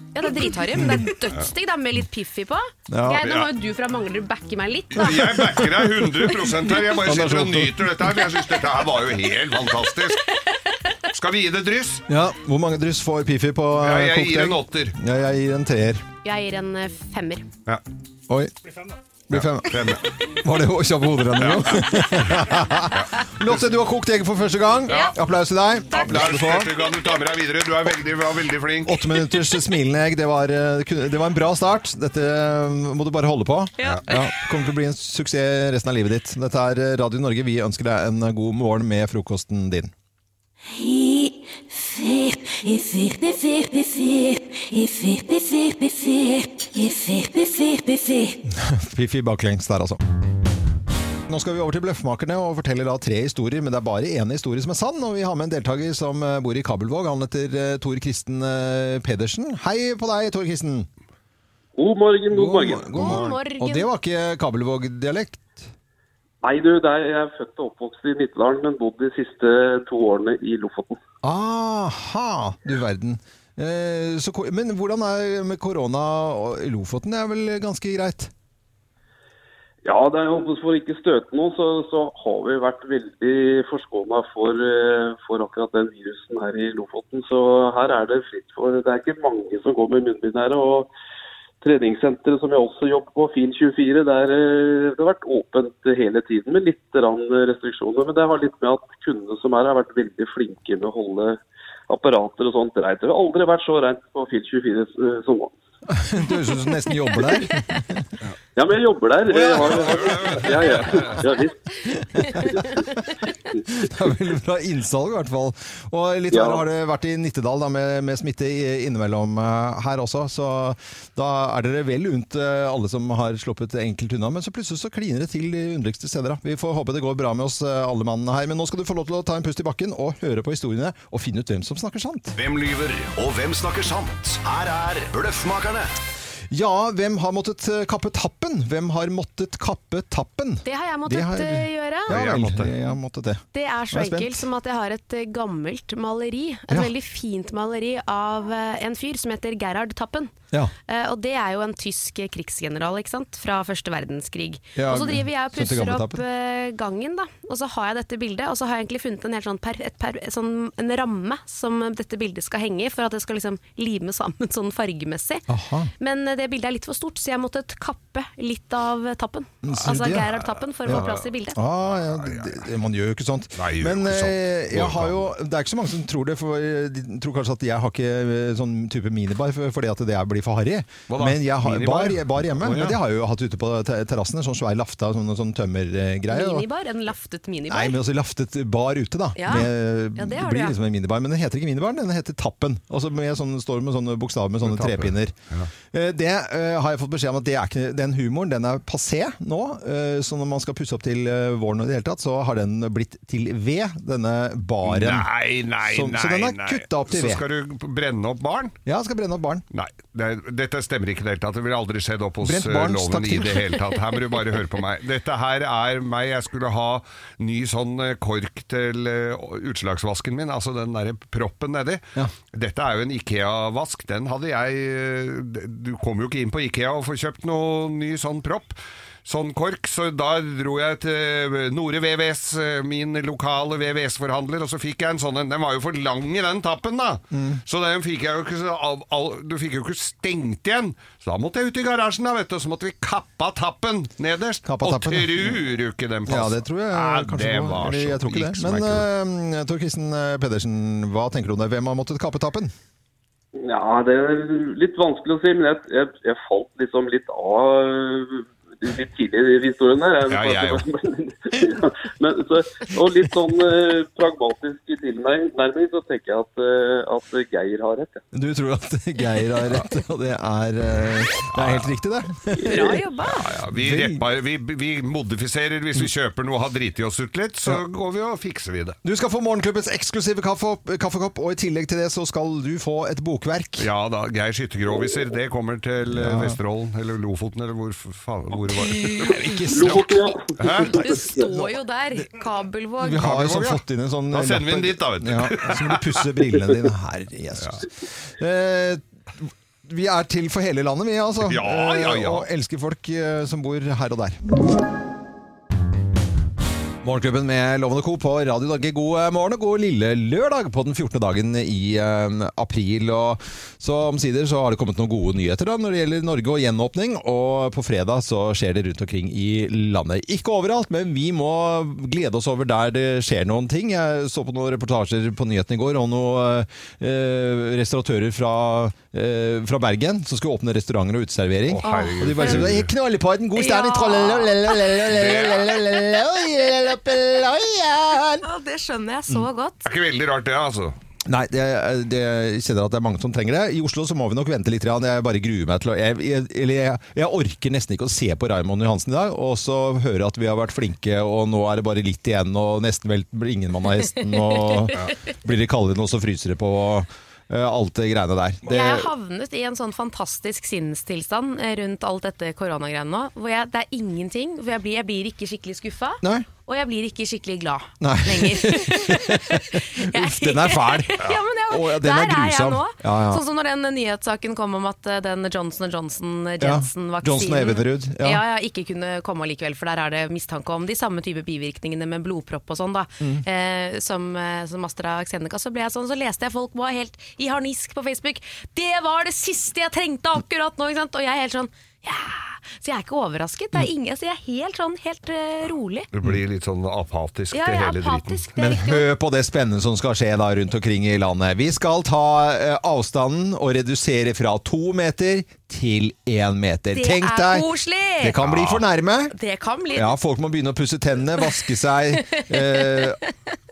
G: Ja, det er dritharry, men det er dødsdigg da, med litt piffi på.
A: Mm. Ja.
G: Jeg, nå må jo du fra Manglerud backe meg litt, da.
C: Jeg backer deg 100 her. Jeg bare
A: Han er
C: sitter
A: så
C: og
A: opptatt.
C: nyter dette her, for jeg syns dette her var jo helt fantastisk. Skal vi gi det dryss?
A: Ja, hvor mange dryss får Pifi på
C: Ja,
A: eh,
C: jeg
A: kokt egg?
C: gir en åtter.
A: Ja, jeg gir en treer.
G: Jeg gir en eh, femmer.
C: Ja.
A: Oi. Blir fem, da. Var det å kjappe hodet denne gangen? Lotte, du har kokt egg for første gang.
C: Ja.
A: Applaus til deg.
C: Applaus første gang du tar med deg videre. Du er veldig, var veldig flink.
A: Åtte minutters smilende egg, det var, eh, kunne- det var en bra start. Dette eh, må du bare holde på.
C: Ja.
A: kommer til å bli en suksess resten av livet ditt. Dette er eh, Radio Norge. Vi ønsker deg en eh, god morgen med frokosten din. Fiffi baklengs der, altså. Nå skal vi over til Bløffmakerne og forteller da tre historier, men det er bare én historie som er sann. Og vi har med en deltaker som eh, bor i Kabelvåg. Han heter eh, Tor Kristen eh, Pedersen. Hei på deg, Tor Kristen.
M: God morgen, god morgen.
A: God morgen. Og det var ikke Kabelvåg-dialekt?
M: Nei, du, der jeg er født og oppvokst i Nittedalen, men bodd de siste to årene i Lofoten.
A: Aha, du verden. Eh, Så, ko- men hvordan er det med korona og- i Lofoten? Det er vel ganske greit?
M: Ja, det er jo for ikke å støte noen, så, så har vi vært veldig forskåna for, eh, for akkurat den virusen her i Lofoten. Så her er det fritt for Det er ikke mange som går med munnbind her. og Treningssenteret som jeg også jobber på, Fin24, der eh, det har vært åpent hele tiden med litt grann restriksjoner. Men det har litt med at kundene som er her har vært veldig flinke med å holde apparater og sånt rent. Det har aldri vært så rent på Fin24 eh, som nå.
A: Du høres ut som du nesten jobber der.
M: Ja, men jeg jobber der. Jeg har, ja, ja. ja visst.
A: Det er veldig bra innsalg i hvert fall. Og litt
M: Ja.
A: verre har det vært i Nittedal da, med, med smitte i- innimellom eh, her også, så da er dere vel unt eh, alle som har sluppet enkelt unna. Men så plutselig så kliner det til de underligste steder. Da. Vi får håpe det går bra med oss eh, alle mannene her. Men nå skal du få lov til å ta en pust i bakken og høre på historiene og finne ut hvem som snakker sant.
D: Hvem lyver, og hvem snakker sant? Her er Bløffmakerne.
A: Ja, hvem har måttet eh, kappe tappen? Hvem har måttet kappe tappen?
G: Det har jeg måttet
A: Det har-
G: eh, gjøre.
A: Ja, vel, jeg har måttet det.
G: Det er så
A: Nå jeg spent.
G: enkelt som at jeg har et eh, gammelt maleri. Et
A: Ja.
G: veldig fint maleri av eh, en fyr som heter Gerhard Tappen.
A: Ja.
G: Eh, og det er jo en tysk eh, krigsgeneral ikke sant? fra første verdenskrig.
A: Ja,
G: og så driver jeg
A: så
G: og
A: til
G: pusser
A: gamle
G: opp
A: tappen.
G: eh, gangen, da. og så har jeg dette bildet. Og så har jeg egentlig funnet en, helt sånn per, et per, et sånn, en ramme som dette bildet skal henge i, for at det skal liksom lime sammen sånn fargemessig. Men eh, det bildet er litt for stort, så jeg måtte kappe litt av eh, tappen.
A: Mm, så
G: Altså
A: det-
G: Gerhard Tappen, for å få plass i bildet.
A: Ah, ja, det, det, man gjør jo ikke sånt. Men eh, jeg har jo, det er ikke så mange som tror det, for eh, de tror kanskje at jeg har ikke eh, sånn type minibar for- fordi at det er- blir for harry.
C: Hva da?
A: Men jeg har
C: Minibar?
A: bar, bar hjemme,
C: Å, ja.
A: men det har jeg jo hatt ute på te- terrassen. en Sånn svær lafta, sånn, sånn tømmergreie. og-
G: Minibar? En laftet minibar?
A: Nei, men også laftet bar ute, da.
G: Ja.
A: Med,
G: Ja, det
A: det,
G: har du,
A: blir
G: ja.
A: liksom en minibar, men den heter ikke minibar, den heter Tappen. Og så med sånn, står det med sånne bokstaver med sånne
C: Tappen.
A: trepinner. Eh, Det eh, har jeg fått beskjed om at det er ikke, den humoren den er passé nå. eh, så når man skal pusse opp til eh, våren og i det hele tatt, så har den blitt til ved, denne baren.
C: Nei, nei,
A: så,
C: nei.
A: Så den er
C: nei.
A: kutta opp til
C: Så
A: ved.
C: skal du brenne opp barn?
A: Ja, skal brenne opp barn.
C: Nei, det, dette stemmer ikke i det hele tatt. Det ville aldri skjedd opp hos
A: Brent
C: eh,
A: barn,
C: loven
A: stakk
C: i
A: til.
C: det hele tatt. Her må du bare høre på meg. Dette her er meg. Jeg skulle ha ny sånn eh, kork til eh, utslagsvasken min, altså den derre proppen nedi. Dette er jo en Ikea-vask. Den hadde jeg eh, Du kommer jo ikke inn på Ikea og får kjøpt noe ny sånn propp. Sånn kork, så da dro jeg til eh, Nore VVS, eh, min lokale VVS-forhandler, og så fikk jeg en sånn en. Den var jo for lang i den tappen, da.
A: Mm.
C: Så den fikk jeg jo ikke, så all, all, du fikk jo ikke stengt igjen. Så da måtte jeg ut i garasjen, da, vet du. Så måtte vi kappa tappen nederst. og
A: tappen, ja.
C: tror du ikke den passer?
A: Ja, det tror jeg
C: Ja,
A: kanskje
C: det
A: på.
C: var
A: Eller,
C: så
A: jeg tror ikke det.
C: liksom
A: Men
C: ikke-
A: eh, Tor Kristen eh, Pedersen, hva tenker du om det? Hvem har måttet kape tappen?
M: Ja, det er litt vanskelig å si, men jeg, jeg, jeg falt eh, liksom litt av øh, litt tidlig i historien der. Jeg,
C: Ja, jeg
M: men, Men, så, og litt sånn eh, pragmatisk i tilnærming, så tenker jeg at, eh, at Geir har rett. Ja.
A: Du tror at Geir har rett, og det er, eh, det er helt riktig, det.
C: Bra jobba! Ja, ja, vi, repar, vi, vi modifiserer
A: Mm.
C: hvis vi kjøper noe og har driti oss ut litt, så går vi og fikser vi det.
A: Du skal få Morgenklubbens eksklusive kaffe, kaffekopp, og i tillegg til det så skal du få et bokverk.
C: Ja da, Geir Skyttergroviser, det kommer til eh, Vesterålen, eller Lofoten, eller hvor f- faen hvor det var.
A: Ikke snakk.
C: Hæ?
G: Det står jo der. Kabelvåg.
A: Vi har jo sånn fått inn en sånn
C: Da sender vi den dit, da, vet du.
A: Ja, så må du pusse brillene dine. Herre Jesus. Eh, vi er til for hele landet, vi, altså.
C: Ja, ja,
A: Eh,
C: ja.
A: Og elsker folk eh, som bor her og der. Morgenklubben med Lovende Co. på Radio Norge. God eh, morgen og god lille lørdag på den 14. dagen i eh, april. Og så omsider så har det kommet noen gode nyheter da, når det gjelder Norge og gjenåpning. Og på fredag så skjer det rundt omkring i landet. Ikke overalt, men vi må glede oss over der det skjer noen ting. Jeg så på noen reportasjer på nyhetene i går og noen eh, restauratører fra, eh, fra Bergen som skulle åpne restauranter og uteservering.
D: Å, herregud.
A: og de bare sier Knollepodden, god stand i
D: Ja.
G: Ja, det skjønner jeg så
A: Mm.
G: godt.
C: Det er ikke veldig rart det, altså.
A: Nei, det, det jeg kjenner at det er mange som trenger det. I Oslo så må vi nok vente litt. grann. Jeg bare gruer meg til å jeg, jeg, Eller jeg, jeg orker nesten ikke å se på Raymond Johansen i dag, og så høre at vi har vært flinke, og nå er det bare litt igjen, og nesten vel blir ingen mann av hesten, og
G: Ja.
A: blir det kaldere nå, så fryser det på, og eh, alt det greiene der. Det,
G: Jeg har havnet i en sånn fantastisk sinnstilstand eh, rundt alt dette koronagreiene nå. Hvor jeg, det er ingenting. Hvor jeg blir, jeg blir ikke skikkelig skuffa.
A: Nei.
G: Og jeg blir ikke skikkelig glad
A: Nei.
G: lenger.
A: Uff, den er fæl.
G: ja, men jeg,
A: Å, ja, den
G: der
A: er
G: er, jeg
A: grusom.
G: nå.
A: Ja, ja.
G: Sånn som når den nyhetssaken kom om at eh, den Johnson
A: Ja,
G: Johnson-Jensen-vaksinen
A: Johnson og Evenerud, ja.
G: Ja, ja, ikke kunne komme allikevel, for der er det mistanke om de samme type bivirkningene med blodpropp og sånn, da,
L: Mm.
G: eh, som, eh, som AstraZeneca. Så ble jeg sånn, så leste jeg folk var helt i harnisk på Facebook. Det var det siste jeg trengte akkurat nå! ikke sant? Og jeg er helt sånn ja, Så jeg er ikke
A: Mm.
G: overrasket. Det er ingen, så jeg er helt sånn, helt eh, rolig.
C: Du blir litt sånn apatisk
G: Ja,
C: til
G: jeg er
C: hele
G: apatisk, det er
A: Men
G: riktig
A: hør på det spennende som skal skje da rundt omkring i landet. Vi skal ta eh, avstanden og redusere fra to meter til én meter.
G: Det
A: Tenk
G: er
A: deg,
G: koselig!
A: Det kan bli for nærme.
G: Det kan bli
A: Ja, folk må begynne å pusse tennene, vaske seg. Eh,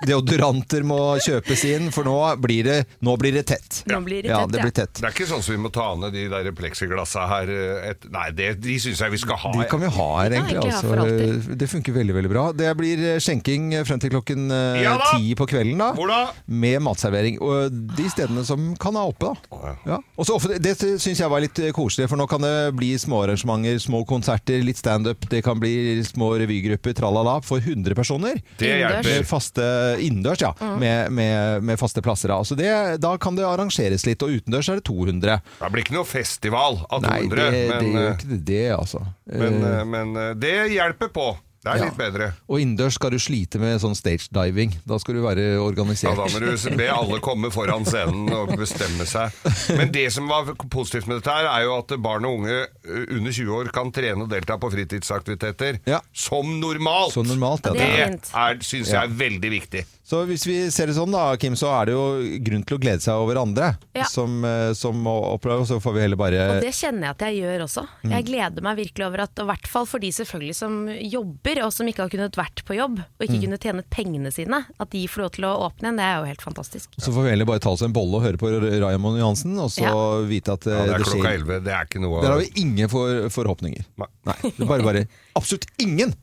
A: deodoranter må kjøpes inn, for nå blir det, nå blir det tett. ja, det blir tett.
C: Det er ikke sånn som vi må ta ned de der pleksiglassa her. eh, Et, nei, det, de syns jeg vi skal ha.
A: De kan vi ha her, egentlig.
C: egentlig, ja, for
A: altså. Det funker veldig veldig bra. Det blir eh, skjenking frem til klokken eh,
C: Ja da!
A: ti på kvelden, da.
C: Hvor da?
A: Med matservering. Og de stedene som kan ha oppe, da. Ja. Og så ofte, det syns jeg var litt eh, koselig, for nå kan det bli småarrangementer, små konserter, litt standup, det kan bli små revygrupper, tralala, for 100 personer.
C: Det hjelper.
A: Med faste innendørs, ja.
C: Mm.
A: Med, med, med faste plasser. Da. Så det, da kan det arrangeres litt, og utendørs er det 200.
C: Det blir ikke noe festival av 200,
A: Nei, det, det
C: men,
A: gjør
C: eh,
A: ikke det, det, altså.
C: men,
A: Eh,
C: eh, men eh, det hjelper på. Det er
A: Ja.
C: litt bedre.
A: Og innendørs skal du slite med sånn stage diving. Da skal du være
C: Ja,
A: organisert.
C: da må du be alle komme foran scenen og bestemme seg. Men det som var positivt med dette, her er jo at barn og unge eh, under 20 år kan trene og delta på fritidsaktiviteter som normalt.
A: Som normalt, ja.
C: det
A: Det er
C: er,
A: fint.
C: syns
A: Ja.
C: jeg er veldig viktig.
A: Så hvis vi ser det sånn da, Kim, så er det jo grunn til å glede seg over andre
G: Ja.
A: som, eh, som må oppleve, og så får vi heller bare
G: Og det kjenner jeg at jeg gjør også.
A: Eh, Mm.
G: Jeg gleder meg virkelig over at, og i hvert fall for de selvfølgelig som jobber, og som ikke har kunnet vært på jobb, og ikke
A: Mm.
G: kunne tjene pengene sine, at de får lov til å åpne igjen, det er jo helt fantastisk.
A: Så får vi heller bare ta oss en bolle og høre på Raymond Johansen, og så
G: Ja.
A: vite at eh,
C: Ja, det er
A: det
C: klokka
A: skjer.
C: 11, det er ikke noe
A: Der har vi ingen for, forhåpninger. Nei. Det er bare, bare absolutt ingen!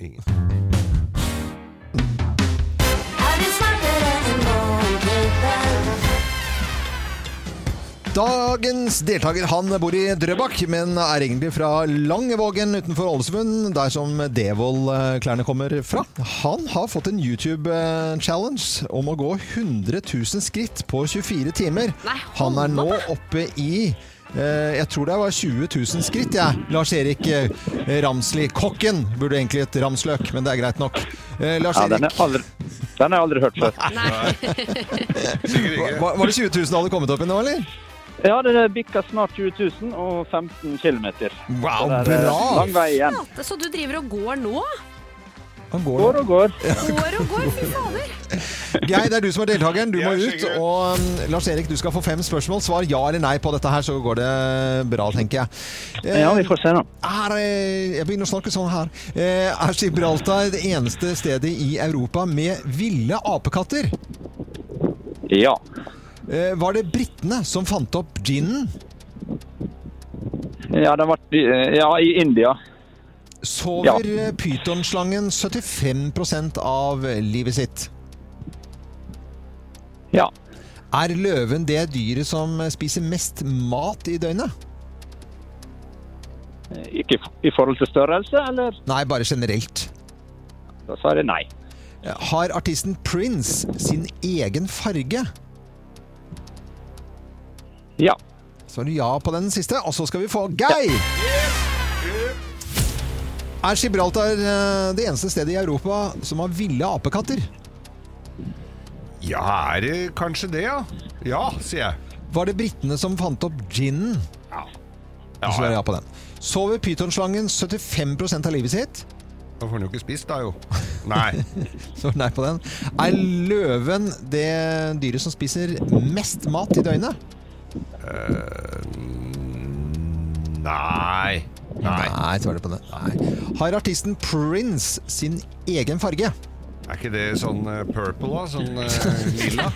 K: Er du smartere enn Morgenklubben?
A: Dagens deltaker han bor i Drøbak, men er egentlig fra Langevågen utenfor Ålesund, der som Devold-klærne kommer fra. Han har fått en YouTube-challenge om å gå 100 000 skritt på 24 timer. Han er nå oppe i eh, jeg tror det var 20 000 skritt, jeg. Lars-Erik eh, Ramsli. Kokken burde egentlig hett Ramsløk, men det er greit nok. Eh,
I: Ja, den,
A: Lars-Erik,
I: er aldri, den har jeg aldri hørt før.
A: var, var det 20 000 hadde kommet opp i nå, eller?
I: Ja, det bikka snart 20 000 og 15 km.
A: Wow,
I: det er
A: bra!
I: lang vei igjen.
G: Så du driver og går nå?
A: Han
I: Går og går.
G: Går og går, fy fader!
A: Geir, det er du som er deltakeren. Du må ut. Og um, Lars Erik, du skal få fem spørsmål. Svar ja eller nei på dette her, så går det bra, tenker jeg. Eh,
I: Ja, vi får se, da.
A: Er, eh, jeg begynner å snakke sånn her. Eh, Er Gibraltar det eneste stedet i Europa med ville apekatter?
I: Ja.
A: Eh, Var det britene som fant opp ginen?
I: Ja, det har vært eh, Ja, i India. Ja.
A: Sover eh, pytonslangen 75 av livet sitt?
I: Ja.
A: Er løven det dyret som eh, spiser mest mat i døgnet?
I: Ikke i forhold til størrelse, eller?
A: Nei, bare generelt.
I: Da sa jeg nei.
A: Har artisten Prince sin egen farge?
I: Ja.
A: Så er det ja på den siste, og så skal vi få Geir! Er Gibraltar eh, det eneste stedet i Europa som har ville apekatter?
C: Ja, er det kanskje det, ja? Ja, sier jeg.
A: Var det britene som fant opp ginen?
C: Ja.
A: Ja, så er det ja på den. Sover pytonslangen 75 av livet sitt?
C: Da får den jo ikke spist, da, jo. Nei.
A: Så nei på den. Er løven det dyret som spiser mest mat i døgnet?
C: Eh, nei.
A: Nei. Nei, svarer du på det. Nei. Har artisten Prince sin egen farge?
C: Er ikke det sånn eh, purple, da? Sånn eh, lilla?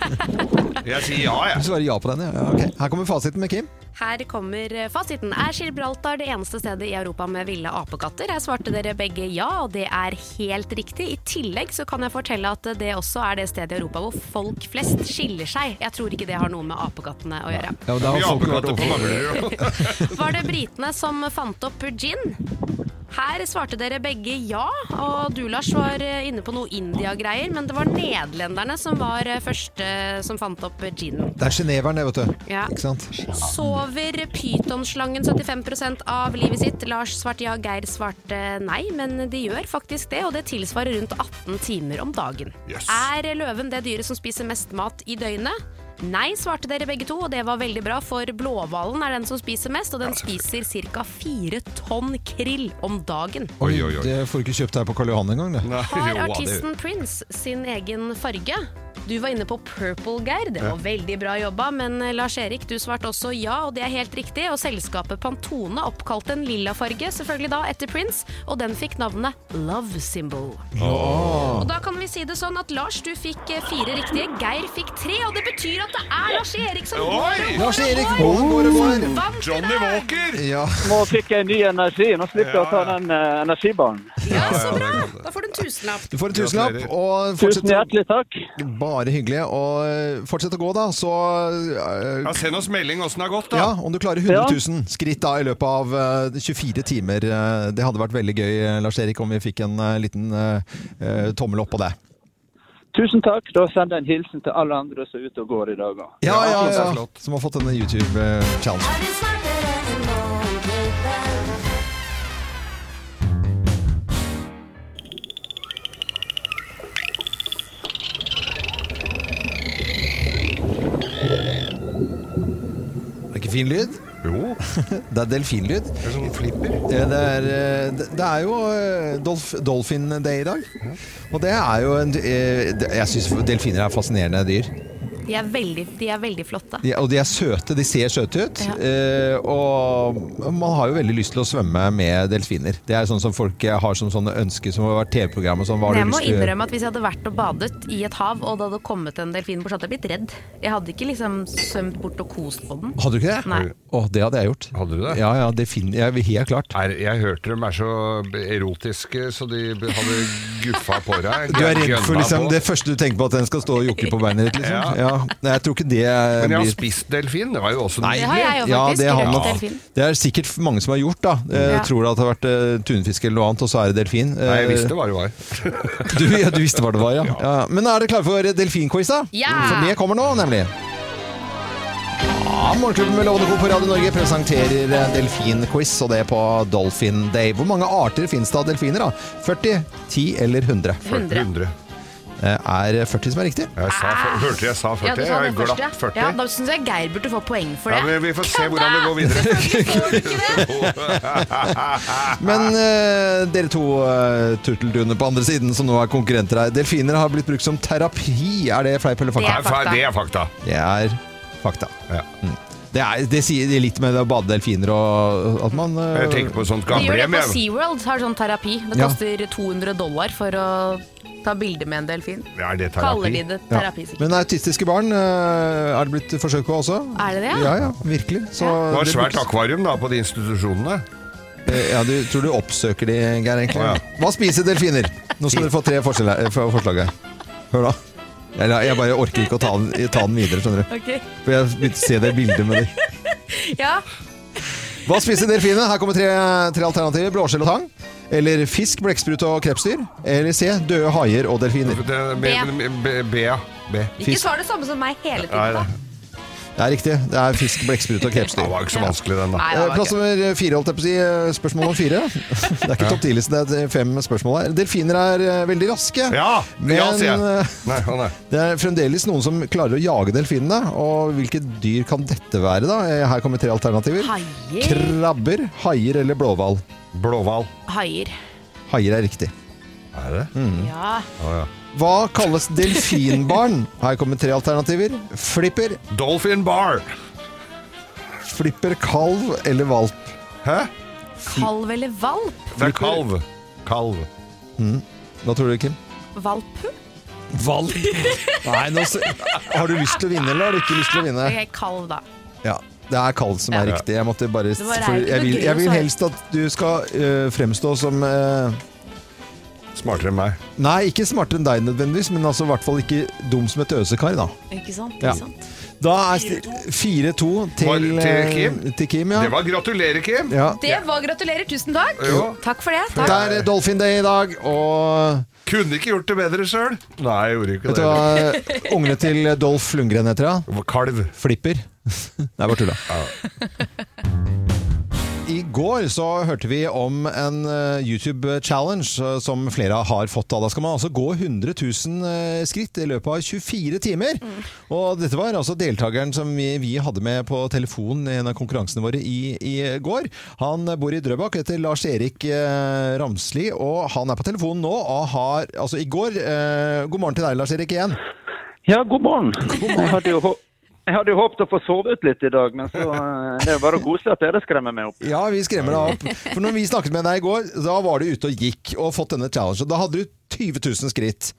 C: Jeg sier ja, jeg.
A: Du svarer ja på den, ja. ja. ok. Her kommer fasiten med Kim.
G: Her kommer fasiten. Er Gibraltar det eneste stedet i Europa med ville apekatter? Her svarte dere begge ja, og det er helt riktig. I tillegg så kan jeg fortelle at det også er det stedet i Europa hvor folk flest skiller seg. Jeg tror ikke det har noe med apekattene å gjøre.
A: Ja, men da har
C: Mye
A: folk vært
C: apekatter på
A: opp-
C: Manglerud, ja.
G: Var det britene som fant opp gin? Her svarte dere begge ja, og du Lars var eh, inne på noe India-greier, men det var nederlenderne som var eh, første som fant opp ginen.
A: Det er geneveren, det, vet du.
G: Ja.
A: Ikke sant?
G: Sover pytonslangen 75 av livet sitt? Lars svarte ja, Geir svarte nei, men de gjør faktisk det, og det tilsvarer rundt 18 timer om dagen.
K: Yes.
G: Er løven det dyret som spiser mest mat i døgnet? Nei, svarte dere begge to, og det var veldig bra, for blåhvalen er den som spiser mest, og den spiser ca. fire tonn krill om dagen.
A: Oi, oi, oi. Det får du ikke kjøpt her på Karl Johan engang, det.
G: Har artisten Prince sin egen farge? Du var inne på Purple, Geir. Det
A: Ja.
G: var veldig bra jobba. Men eh, Lars-Erik, du svarte også ja, og det er helt riktig. Og selskapet Pantone oppkalte en lilla farge, selvfølgelig da, etter Prince. Og den fikk navnet Love Symbol. Og da kan vi si det sånn at Lars, du fikk eh, fire riktige. Geir fikk tre, og det betyr at det er Lars-Erik som går og går
A: Lars Erik
G: og
A: Valen går og går.
G: Vant i
C: Johnny Walker!
A: Ja.
I: Nå fikk jeg ny energi. Nå slipper jeg å ta den eh, energibaren.
G: Ja, så bra! Da får du en tusenlapp.
A: Du får en tusenlapp. Og
I: Tusen hjertelig takk.
A: Bare hyggelig. Og eh, fortsett å gå, da. Så eh,
C: Ja, Send oss melding åssen det har gått, da.
A: ja, om du klarer 100 000 skritt da i løpet av eh, 24 timer. eh, det hadde vært veldig gøy, eh, Lars Erik, om vi fikk en eh, liten eh, eh, tommel opp på det.
I: Tusen takk. Da sender jeg en hilsen til alle andre som er ute og går i dag. da.
A: Ja, ja,
I: det er
A: ja.
I: flott.
A: Som har fått denne eh, YouTube-challengen. Er det ikke fin lyd?
C: Jo.
A: det er delfinlyd. Det
C: er sånn flipper.
A: Det er, eh, det- det er jo eh, dolf, Dolphin Day i dag. Og det er jo en eh, det- Jeg syns delfiner er fascinerende dyr.
G: De er veldig, de er veldig flotte.
A: De, og de er søte. De ser søte ut. Eh, og man har jo veldig lyst til å svømme med delfiner. Det er sånn som folk eh, har som sånne ønsker som har vært TV-program og sånn. Hva har
G: Men jeg
A: du
G: må
A: lyst til å gjøre?
G: innrømme at hvis jeg hadde vært og badet i et hav, og det hadde kommet en delfin bort, så hadde jeg blitt redd. Jeg hadde ikke liksom svømt bort og kost på den.
A: Hadde du ikke det?
G: Nei.
A: Å, det hadde jeg gjort.
C: Hadde du det?
A: Ja, ja, delfin, ja, helt klart.
C: Er, jeg hørte dem er så erotiske, så de hadde guffa på deg.
A: Du er redd for
C: Gønna
A: liksom,
C: på.
A: det første du tenker på, at den skal stå og jokke på beinet ditt? Liksom.
C: Ja.
A: Ja. Nei, jeg tror ikke det
C: Men jeg har
A: blir-
C: spist delfin, det var jo også
A: Nei.
C: nydelig.
A: Ja, det, har
C: Ja.
A: man- det er sikkert mange som har gjort, da. Jeg
C: Ja.
A: tror det at det har vært eh, tunfisk eller noe annet, og så er det delfin.
C: Nei, jeg
A: Eh,
C: visste hva det var.
A: du, ja, du visste hva det var, ja. ja. Men er dere klare for delfinquiz, da?
C: Ja!
A: For det kommer nå, nemlig. Ja, Morgenklubben med Lovende Co på Radio Norge presenterer eh, delfinquiz, og det er på Dolphin Day. Hvor mange arter finnes det av delfiner? da? 40, 10 eller 100?
C: 100.
A: eh, er 40 som er riktig.
C: Jeg sa, fyr- hørte jeg sa 40?
B: Ah. Ja, du sa
C: jeg
B: det først, ja.
C: glapp 40.
B: Ja, da syns jeg Geir burde få poeng for det.
C: Ja, men vi får se hvordan det går videre.
A: Men eh, dere to eh, turtelduner på andre siden som nå er konkurrenter her. Delfiner har blitt brukt som terapi. Er det fleip eller fakta?
C: Det er fakta. Det er fakta.
A: Det er fakta. Mm. Det, er, det sier litt med det å bade delfiner og at man eh,
C: Jeg tenker på sånt
B: De gjør det
C: gamlehjem,
B: på
C: jeg.
B: SeaWorld, har sånn terapi. Det
A: Ja.
B: koster 200 dollar for å ta bilde med en delfin.
C: Er det terapi?
B: Kaller de det terapi,
A: Ja.
B: sikkert.
A: Men autistiske barn eh, er det blitt forsøk på også.
B: Er det det, ja?
A: Ja, ja, virkelig. Så
C: Det var
A: det
C: svært
A: brukes-
C: akvarium da, på de institusjonene.
A: Eh, Ja, du tror du oppsøker de, Geir, egentlig.
C: Å, ja.
A: Hva spiser delfiner? Nå skal dere få tre forskjell her- eh, for- forslag her. Hør da. Jeg, jeg bare orker ikke å ta den, ta den videre, skjønner du.
B: Ok.
A: For jeg begynte å se det bildet med dem.
B: Ja,
A: Hva spiser delfiner? Her kommer tre, tre alternativer. Blåskjell og tang. Eller fisk, blekksprut og krepsdyr. Eller C. Døde haier og delfiner.
C: B. B- B, ja. B.
G: Ikke svar det samme som meg hele
A: Nei,
G: tiden, da.
A: Det er riktig. Det er fisk, blekksprut og krepsdyr. Det var
C: ikke så vanskelig, den, Eh,
G: Nei, det var
A: Eh, Plass nummer fire, holdt jeg på å si. Eh, Spørsmål om fire. Det er ikke topp ti-liste, det er fem spørsmål her. Delfiner er eh, veldig raske.
C: Ja!
A: men
C: ja, sier
A: eh,
C: jeg. Nei, å nei.
A: det er fremdeles noen som klarer å jage delfinene. Og hvilke dyr kan dette være, da? Eh, Her kommer tre alternativer. Krabber, haier eller blåhval.
C: Blåhval. Mm.
B: haier.
A: Haier er riktig.
C: Er det?
B: Ja.
A: Hva kalles delfinbarn? Her kommer tre alternativer. Flipper.
C: Dolphin bar.
A: Flipper kalv eller valp?
C: Hæ?
B: Kalv eller valp?
C: Det er kalv. Kalv.
A: Mm. Hva tror du, Kim?
B: Valp?
A: Valp? Nei, nå s- Har du lyst til å vinne, eller har du ikke lyst til å vinne?
B: Ok, kalv, da.
A: Ja, det er kalv som er riktig. Jeg måtte bare
B: Det var
A: for
B: ikke
A: jeg,
B: noe
A: vil,
B: gøy å
A: jeg vil
B: svare.
A: helst at du skal øh, fremstå som øh,
C: Smartere enn meg.
A: Nei, ikke smartere enn deg nødvendigvis, men altså i hvert fall ikke dum som et øsekar, da.
B: Ikke sant?
A: Ja.
B: Ikke sant?
A: Da er sti- 4-2
C: Var-
A: til,
C: til
A: øh,
C: Kim?
A: til Kim ja.
C: Det var gratulerer, Kim!
A: Ja.
B: Det var Gratulerer, tusen takk!
C: Jo.
B: Takk for det.
A: Det er
B: Takk.
A: Dolphin Day i dag, og
C: Kunne ikke gjort det bedre sjøl. Nei, jeg gjorde ikke
A: vet du
C: det.
A: hva eh, ungene til Dolph Lundgren heter? Ja?
C: Kalv.
A: Flipper. Nei, bare tulla. I går så hørte vi om en eh, YouTube-challenge eh, som flere har fått. Da. da skal man altså gå 100 000 eh, skritt i løpet av 24 timer. Og dette var altså deltakeren som vi, vi hadde med på telefon i en av konkurransene våre i, i går. Han bor i Drøbak, heter Lars-Erik eh, Ramsli, og han er på telefonen nå og har altså i går eh, God morgen til deg, Lars-Erik, igjen.
I: Ja, god morgen. Jeg hadde jo hå- jeg hadde jo håpet å få sove ut litt i dag, men så eh, det er jo bare koselig at dere skremmer meg opp.
A: Ja, vi skremmer deg opp. For når vi snakket med deg i går, da var du ute og gikk og fått denne challengen. Da hadde du 20 000 skritt.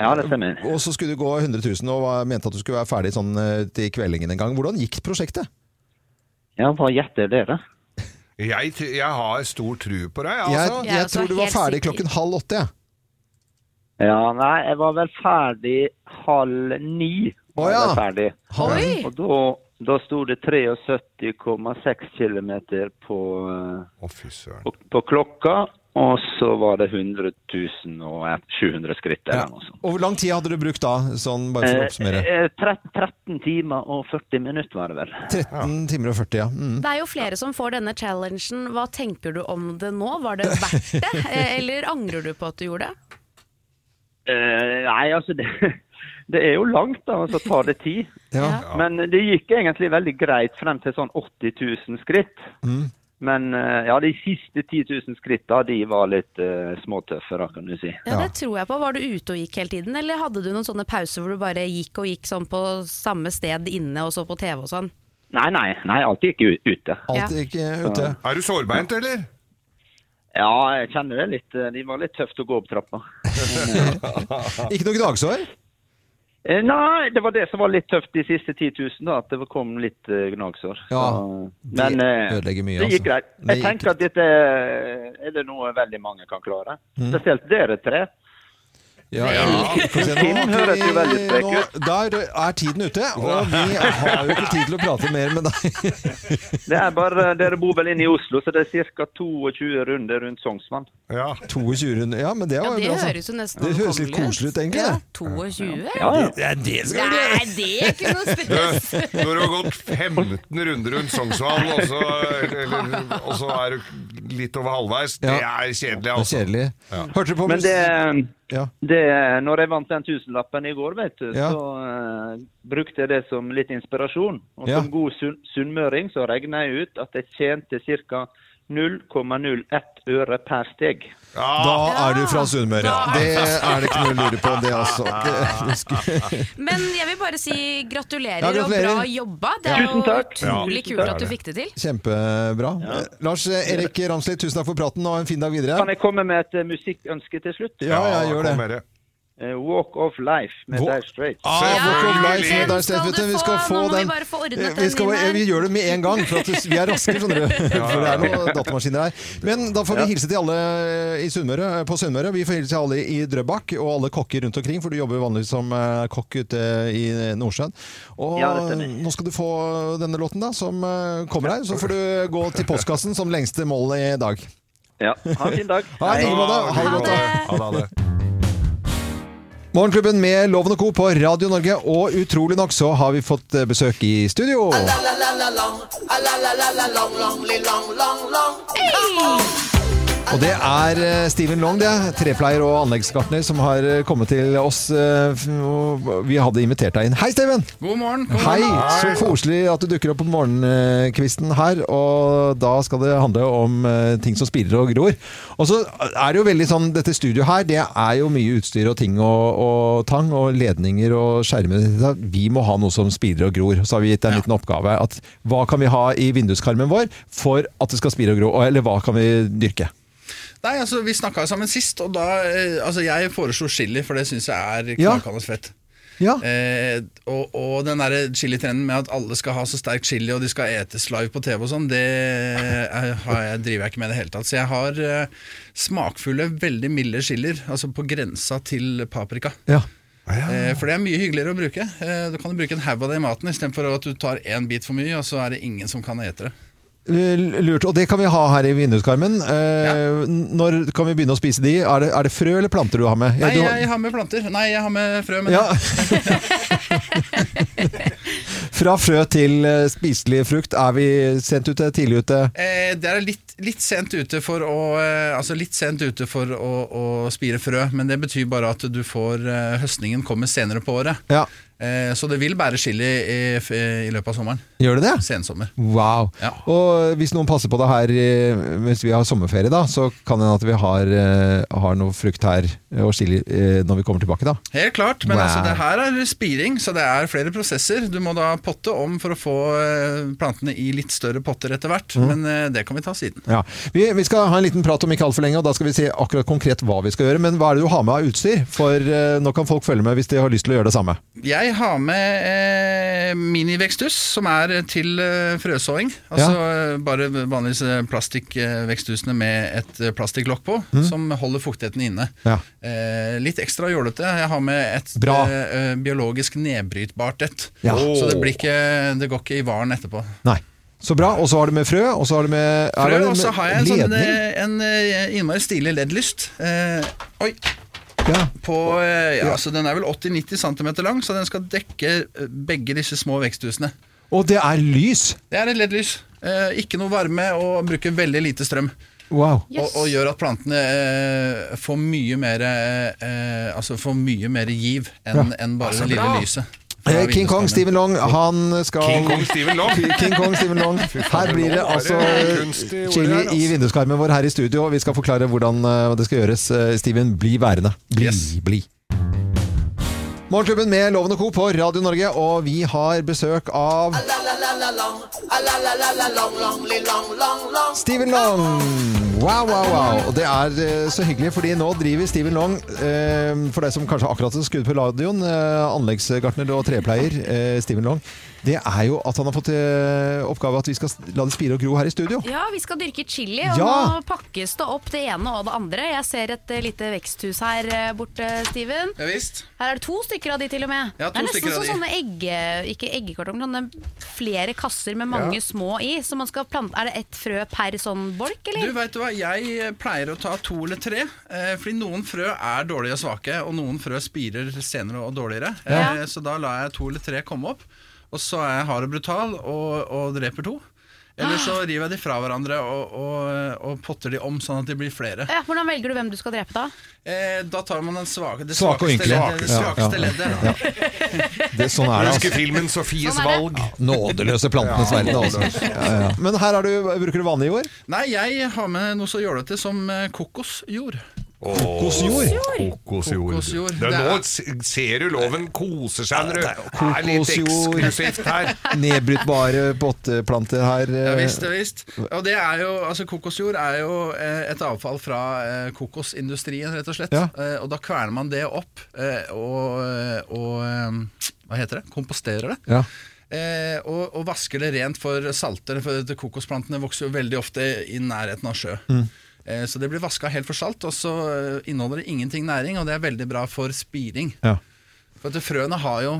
I: Ja, det stemmer.
A: Og så skulle du gå 100 000 og var- mente at du skulle være ferdig sånn eh, til kveldingen en gang. Hvordan gikk prosjektet?
I: Ja, hva gjetter dere?
C: Jeg, t- jeg har stor tru på deg,
A: Jeg,
C: altså.
A: jeg, tror du var ferdig klokken halv åtte. jeg.
I: Ja, nei, jeg var vel ferdig halv ni. Var jeg
A: ja.
I: ferdig.
A: Halv ni?
I: Og da, da sto det 73,6 km på, eh, på, på klokka, og så var det 100 000 og eh, 700 skritt eller noe sånt.
A: Og hvor lang tid hadde du brukt da? Sånn bare for å oppsummere.
I: Eh, eh, tre- 13 timer og 40 minutter var det vel.
A: 13 timer og 40, ja. Mm.
B: Det er jo flere som får denne challengen. Hva tenker du om det nå? Var det verdt det, Eh, eller angrer du på at du gjorde det?
I: Eh, nei, altså det, det er jo langt, da, og så tar det tid.
A: Ja.
I: Men det gikk egentlig veldig greit frem til sånn 80 000 skritt.
A: Mm.
I: Men eh, ja, de siste 10 000 skritta, de var litt eh, småtøffe, da, kan du si.
B: Ja, det tror jeg på. Var du ute og gikk hele tiden, eller hadde du noen sånne pauser hvor du bare gikk og gikk sånn på samme sted inne og så på TV og sånn?
I: Nei, nei, nei, alltid ikke u- ute.
A: Alt gikk eh, ute.
C: Er du sårbeint, eller?
I: Ja, jeg kjenner det litt. eh, De var litt tøft å gå opp trappa.
A: Ikke noe gnagsår?
I: Eh, Nei, det var det som var litt tøft de siste 10 000, da, at det kom litt eh, gnagsår. Så,
A: det
I: eh,
A: ødelegger mye,
I: Det
A: altså.
I: gikk greit.
A: Det
I: Jeg
A: gikk
I: tenker at dette eh, er det noe veldig mange kan klare.
A: Mm.
I: Spesielt dere tre.
A: Ja, ja. Få se nå.
I: Kim høres jo veldig sprek
A: Nå- Der er tiden ute, og vi har jo ikke tid til å prate mer med deg.
I: Det er bare, Dere bor vel inne i Oslo, så det er ca. 22 runder rundt Sognsvann.
C: Ja.
A: 22 runder, ja, men det var
B: Ja, det
A: jo bra. altså. sant?
B: høres jo nesten
A: Det høres litt koselig ut, egentlig. det.
B: 22?
A: Det- Det er det som er
B: Nei, det er ikke noe
C: Du, Når du har gått 15 runder rundt Sognsvann, og så, eller, og så er du litt over halvveis, det
A: Ja.
C: er kjedelig,
A: Det er
C: altså.
A: kjedelig.
C: Ja.
A: Hørte du på
I: Men
A: mus-
I: det,
A: Ja.
I: det Når jeg vant den tusenlappen i går, vet du,
A: Ja.
I: så eh, brukte jeg det som litt inspirasjon. Og
A: Ja.
I: som god sunn- sunnmøring så regna jeg ut at jeg tjente ca. 0,01 øre per steg.
A: Da er du fra Sunnmøre. Det er det ikke noe å lure på, det altså.
B: Men jeg vil bare si gratulerer,
A: Ja, gratulerer.
B: og bra jobba. Det
A: Ja.
B: er
A: Tusen
B: jo
A: takk.
B: utrolig
A: Ja.
B: kult at du fikk det til.
A: Kjempebra. Eh, Lars eh, Erik Ramsli, tusen takk for praten, og en fin dag videre.
I: Kan jeg komme med et eh, musikkønske til slutt?
A: Ja, ja, gjør det. Kom med
I: Eh, Walk of Life med
A: Walk-
I: Dire Straits.
A: Ah, Walk of Life med Dire Straits, vet du. Vi skal få
B: Nå må vi
A: den. Eh,
B: bare få ordnet
A: Vi,
B: den
A: skal,
B: inn her.
A: vi gjør det med en gang, for at vi er raske, skjønner du. For det er noen datamaskiner her. Men da får vi hilse til alle i Sunnmøre, på Sunnmøre. Vi får hilse til alle i Drøbak, og alle kokker rundt omkring, for du jobber jo vanligvis som eh, kokk ute i Nordsjøen. Og
I: Ja, det stemmer.
A: nå skal du få denne låten, da, som eh, kommer her. Så får du gå til postkassen som lengste mål i dag.
I: Ja, ha en fin dag.
A: Ha en
I: Hei.
A: fin dag. Ha det godt, da. Morgenklubben med Loven og Co. på Radio Norge, og utrolig nok så har vi fått eh, besøk i studio. Og det er eh, Steven Long, det. Trepleier og anleggsgartner som har eh, kommet til oss. eh, f- og Vi hadde invitert deg inn. Hei, Steven!
N: God morgen. God
A: Hei!
N: morgen.
A: Så koselig at du dukker opp på morgenkvisten her. Og da skal det handle om eh, ting som spirer og gror. Og så er det jo veldig sånn Dette studioet her, det er jo mye utstyr og ting og, og tang og ledninger og skjermer. Vi må ha noe som spirer og gror. Så har vi gitt deg en liten oppgave. At hva kan vi ha i vinduskarmen vår for at det skal spire og gro? og- Eller hva kan vi dyrke?
N: Nei, altså, Vi snakka sammen sist, og da eh, altså, Jeg foreslo chili, for det syns jeg er
A: Ja.
N: knakende fett.
A: Ja.
N: Eh, og, og den der chilitrenden med at alle skal ha så sterk chili og de skal etes live på TV og sånn, det eh, har jeg, driver jeg ikke med i det hele tatt. Så jeg har eh, smakfulle, veldig milde chilier, altså på grensa til paprika.
A: Ja.
N: Eh, For det er mye hyggeligere å bruke. Eh, Du kan jo bruke en haug av det i maten istedenfor at du tar én bit for mye, og så er det ingen som kan ete det.
A: Eh, Lurt. Og det kan vi ha her i vinduskarmen. Eh, n- Når kan vi begynne å spise de? Er det, er det frø eller planter du har med?
N: Nei,
A: du har-
N: jeg har med planter. Nei, jeg har med frø. Men
A: Ja. Fra frø til eh, spiselig frukt. Er vi sent ute, tidlig ute?
N: Eh, Dere er litt, litt sent ute for å eh, Altså litt sent ute for å, å spire frø, men det betyr bare at du får eh, høstningen kommer senere på året.
A: Ja.
N: Eh, Så det vil bære chili i, f- i løpet av sommeren.
A: Gjør det det?
N: Sensommer.
A: Wow. Og hvis noen passer på det her eh, hvis vi har sommerferie, da, så kan det hende at vi har, eh, har noe frukt her eh, og chili eh, når vi kommer tilbake, da.
N: Helt klart, men
A: Wow.
N: altså, det her er spiring, så det er flere prosesser. Du må da potte om for å få eh, plantene i litt større potter etter hvert,
A: Mm.
N: men eh, det kan vi ta siden.
A: Ja. Vi, vi skal ha en liten prat om ikke altfor lenge, og da skal vi se akkurat konkret hva vi skal gjøre. Men hva er det du har med av utstyr? For eh, nå kan folk følge med hvis de har lyst til å gjøre det samme.
N: Jeg har med eh, miniveksthus, som er til eh, frøsåing. Altså eh, bare vanligvis eh, plastikkveksthusene med et eh, plastikklokk på,
A: Mm.
N: som holder fuktigheten inne.
A: Ja.
N: Eh, litt ekstra jålete. Jeg har med et
A: Bra.
N: eh, eh, biologisk nedbrytbart et.
A: Ja.
N: Så det, blir ikke, det går ikke i varen etterpå.
A: Nei. Så bra. Og så har du med frø, og så har du med er
N: Frø,
A: det med
N: og så har jeg en, sånn,
A: ledning?
N: eh, en eh, innmari stilig LED-lyst. Eh, oi.
A: Ja.
N: På, eh, ja, så den er vel 80-90 cm lang, så den skal dekke eh, begge disse små veksthusene.
A: Og det er lys!
N: Det er et LED-lys. Eh, ikke noe varme og bruker veldig lite strøm.
A: Wow.
N: Og, og gjør at plantene eh, får mye mer eh, Altså får mye mer giv enn
A: Ja.
N: enn bare
A: Altså,
N: det lille
A: bra.
N: lyset.
A: Eh, King Kong, Steven Long, han skal
N: King Kong, Steven Long?
A: King Kong, Steven Long.
N: Fy faen,
A: Her blir det
N: nå er
A: altså
N: det kunst i ordet
A: chili
N: her, altså.
A: i vinduskarmen vår her i studio, og vi skal forklare hvordan eh, det skal gjøres. Eh, Steven, bli værende. Bli, bli. Morgenklubben med Loven og Co. på Radio Norge, og vi har besøk av Steven Long! Wow, wow, wow. Og det er eh, så hyggelig, fordi nå driver Steven Long, eh, for deg som kanskje akkurat har skrudd på radioen, eh, anleggsgartner og trepleier, eh, Steven Long, det er jo at han har fått eh, oppgave at vi skal s- la det spire og gro her i studio.
B: Ja, vi skal dyrke chili, og
A: Ja.
B: nå pakkes det opp det ene og det andre. Jeg ser et eh, lite veksthus her eh, borte, Steven.
N: Ja, visst.
B: Her er det to stykker av de, til og med.
N: Ja,
B: det
N: to
B: er nesten
N: stykker av
B: som
N: de.
B: sånne egge... Ikke eggekartonger, men sånne flere kasser med mange
N: Ja.
B: små i. Så man skal plante Er det ett frø per sånn bolk, eller?
N: Du vet du hva, Jeg eh, pleier å ta to eller tre, eh, fordi noen frø er dårlige og svake, og noen frø spirer senere og dårligere.
A: Ja.
N: Eh, så da lar jeg to eller tre komme opp, og så er jeg hard og brutal og, og dreper to. Eller så river jeg de fra hverandre og, og, og potter de om, sånn at de blir flere.
B: Ja, hvordan velger du hvem du skal drepe, da?
N: Eh, da tar man den svake, det
A: Svake
N: svakeste
A: og ynkelig.
N: leddet. Det
A: Ja,
N: svakeste
A: ja,
N: leddet.
A: Det, sånn er det.
C: Husker filmen 'Sofies
A: Sånn er
C: valg'?
A: Nådeløse plantenes
N: Ja.
A: verden. Altså. Ja, ja. Men her er du, bruker du vanlig jord?
N: Nei, jeg har med noe så jålete som eh, kokosjord.
A: Kokosjord.
C: Kokosjord.
N: Kokosjord.
C: Det er,
N: Det er-
C: nå s- ser du loven koser seg. når du- Det er litt
A: Kokosjord.
C: eksklusivt her.
A: Nedbrytbare potteplanter her. eh,
N: Ja visst, ja visst. Og det er jo, altså kokosjord er jo eh, et avfall fra eh, kokosindustrien, rett og slett.
A: Ja.
N: Eh, og da kverner man det opp eh, og, og eh, Hva heter det? Komposterer det.
A: Ja.
N: Eh, og, og vasker det rent for salter, for dette kokosplantene vokser jo veldig ofte i nærheten av sjø.
A: Mm.
N: Eh, så det blir vaska helt for salt, og så eh, inneholder det ingenting næring, og det er veldig bra for spiring.
A: Ja.
N: For at frøene har jo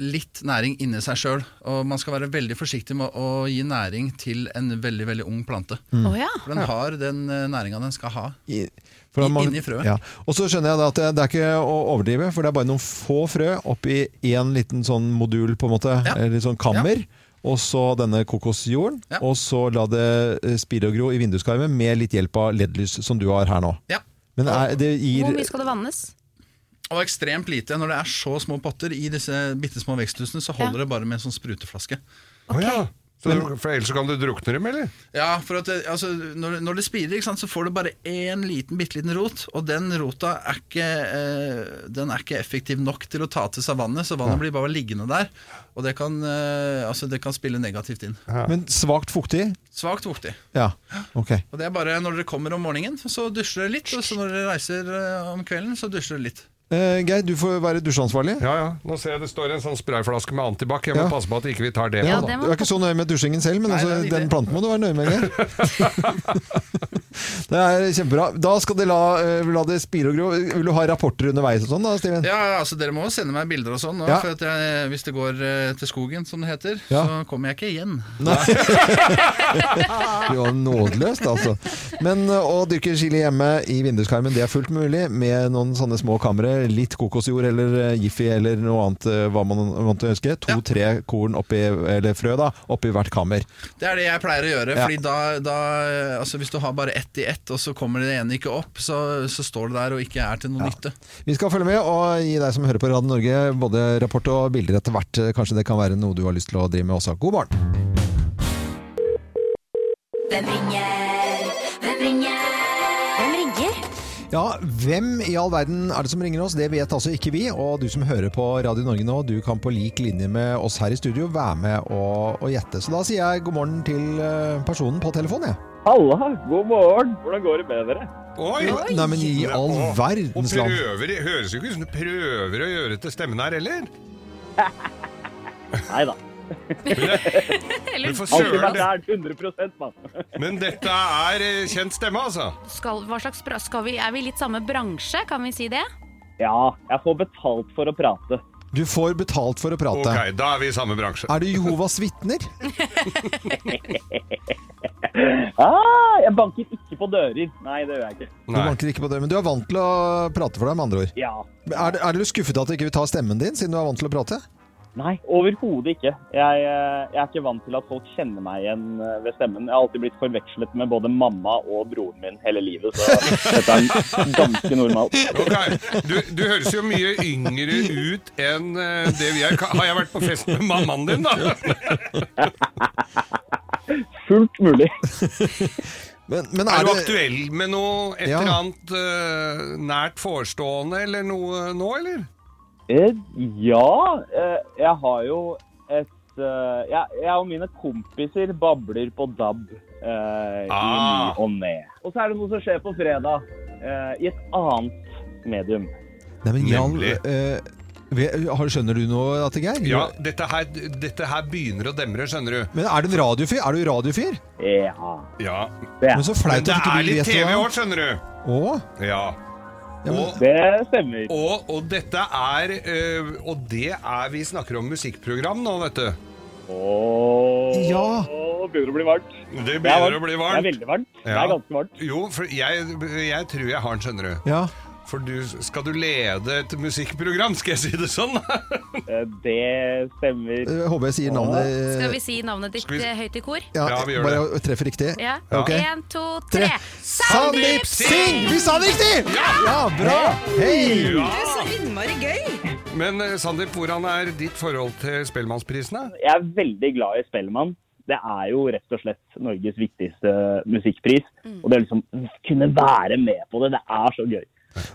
N: litt næring inni seg sjøl, og man skal være veldig forsiktig med å gi næring til en veldig veldig ung plante.
A: Mm. Å ja.
N: For den har den næringa den skal ha.
A: I,
N: I-
A: at man-
N: inni frøet.
A: Ja. Og så skjønner jeg da at det, det er ikke å overdrive, for det er bare noen få frø oppi én liten sånn modul, på en måte, eller sånn kammer. Og så denne kokosjorden, og så la det eh, spire og gro i vinduskarmen med litt hjelp av LED-lys, som du har her nå.
N: Ja.
A: Men er, det gir
B: Hvor mye skal det vannes?
N: Og ekstremt lite. Når det er så små potter i disse bitte små veksthusene, så holder det bare med en sånn spruteflaske.
C: Å ja. Så du, for ellers så kan du drukne dem, eller?
N: Ja, for at det, altså, når, når det spirer, ikke sant, så får du bare én liten, bitte liten rot. Og den rota er ikke, eh, den er ikke effektiv nok til å ta til seg vannet, så vannet blir bare liggende der. Og det kan, eh, altså, det kan spille negativt inn.
A: Men svakt fuktig?
N: Svakt fuktig.
A: Ja, ok.
N: Og det er bare når dere kommer om morgenen, så dusjer dere litt. Og så når dere reiser eh, om kvelden, så dusjer dere litt.
A: Eh, Geir, du får være dusjansvarlig.
C: Ja, ja. Nå ser jeg det står en sånn sprayflaske med antibac. Jeg må
A: Ja.
C: passe på at ikke vi tar det.
A: Ja,
C: på, da.
A: du er ikke så nøye med dusjingen selv, men altså, den planten må du være nøye med. Geir. det er kjempebra. Da skal det la, eh, la det spire og gro. Vil du ha rapporter underveis og sånn da, Steven?
N: Ja, altså Dere må jo sende meg bilder og sånn, nå,
A: Ja.
N: for at jeg, hvis det går eh, til skogen, som det heter,
A: Ja.
N: så kommer jeg ikke igjen.
A: Du var nådeløst, altså. Men eh, å dyrke chili hjemme i vinduskarmen, det er fullt mulig med noen sånne små kamre. Litt kokosjord eller eh, Jiffi eller noe annet eh, hva man måtte ønske. To-tre korn oppi, eller frø da, oppi hvert kammer.
N: Det er det jeg pleier å gjøre.
A: Ja.
N: Fordi da, da altså Hvis du har bare ett i ett, og så kommer det ene ikke opp, så, så står det der og ikke er til noe nytte.
A: Vi skal følge med og gi deg som hører på Radio Norge både rapport og bilder etter hvert. Kanskje det kan være noe du har lyst til å drive med også. God morgen!
K: Hvem ringer? Hvem ringer? Hvem ringer?
A: Ja, hvem i all verden er det som ringer oss? Det vet altså ikke vi. Og du som hører på Radio Norge nå, du kan på lik linje med oss her i studio være med og, og gjette. Så da sier jeg god morgen til eh, personen på telefonen, jeg.
O: Halla, god morgen. Hvordan går det med dere?
C: Oi!
A: Nei, nei, men i all
C: Å,
A: verdens land.
C: Og prøver, høres jo ikke ut som du prøver å gjøre til stemmen her, eller?
O: Nei da.
C: Men for
O: Alltid
C: søren,
O: vært der 100 mann.
C: men dette er eh, kjent stemme, altså.
B: Skal, hva slags, bra- skal vi, er vi litt samme bransje, kan vi si det?
O: Ja, jeg får betalt for å prate.
A: Du får betalt for å prate.
C: Ok, da er vi i samme bransje.
A: Er du Jehovas vitner?
O: Ah, jeg banker ikke på dører. Nei, det gjør jeg ikke.
A: Du banker ikke på det, men du er vant til å prate for deg, med andre ord.
O: Ja.
A: Er, er du skuffet at de ikke vil ta stemmen din, siden du er vant til å prate?
O: Nei, overhodet ikke. Jeg, eh, jeg er ikke vant til at folk kjenner meg igjen eh, ved stemmen. Jeg har alltid blitt forvekslet med både mamma og broren min hele livet, så dette er ganske normalt.
C: Du, du høres jo mye yngre ut enn eh, det vi er. Ka- Har jeg vært på fest med mammaen din, da?
O: Fullt mulig.
A: Men, men
C: er,
A: er
C: du
A: det-
C: aktuell med noe et
A: Ja.
C: eller annet eh, nært forestående eller noe nå, eller?
O: Eh, Ja, eh, jeg har jo et eh, jeg, jeg og mine kompiser babler på DAB eh, i
K: Ah.
O: ny og ne. Og så er det noe som skjer på fredag eh, i et annet medium.
A: Nei, men Jan, eh, ve- har- skjønner du noe av det, Geir?
C: Ja, dette her, dette her begynner å demre, skjønner du.
A: Men er du en radiofyr? Er du radiofyr?
O: Ja.
C: ja.
A: Men så flaut
C: det
A: at ikke
C: er
A: du
C: litt
A: vet det,
C: TV
A: da.
C: òg, skjønner du.
A: Å?
C: Ja. Og,
O: det stemmer.
C: Og, og dette er eh, Og det er Vi snakker om musikkprogram nå, vet du.
O: Åh,
A: Ja.
O: Det begynner å bli varmt.
C: Det
O: Det er varmt.
C: begynner å bli
O: Det
C: varmt.
O: er veldig varmt. Det er ganske varmt.
C: Jo, for jeg, jeg tror jeg har den, skjønner du.
A: Ja.
C: For du, skal du lede et musikkprogram, skal jeg si det sånn?
O: det stemmer.
A: Jeg Eh, håper jeg sier navnet
B: Skal vi si navnet ditt eh, høyt i kor?
A: Ja, bare jeg treffer riktig.
B: Ja.
A: Ok.
B: En, to, tre.
A: Tre. Sandeep Singh! Vi sa det riktig! Ja! bra! Hei!
C: Ja.
L: Det er så innmari gøy!
C: Men eh, Sandeep, hvordan er ditt forhold til Spellemannsprisene?
O: Jeg er veldig glad i Spellemann. Det er jo rett og slett Norges viktigste musikkpris. Og det å liksom kunne være med på det, det er så gøy.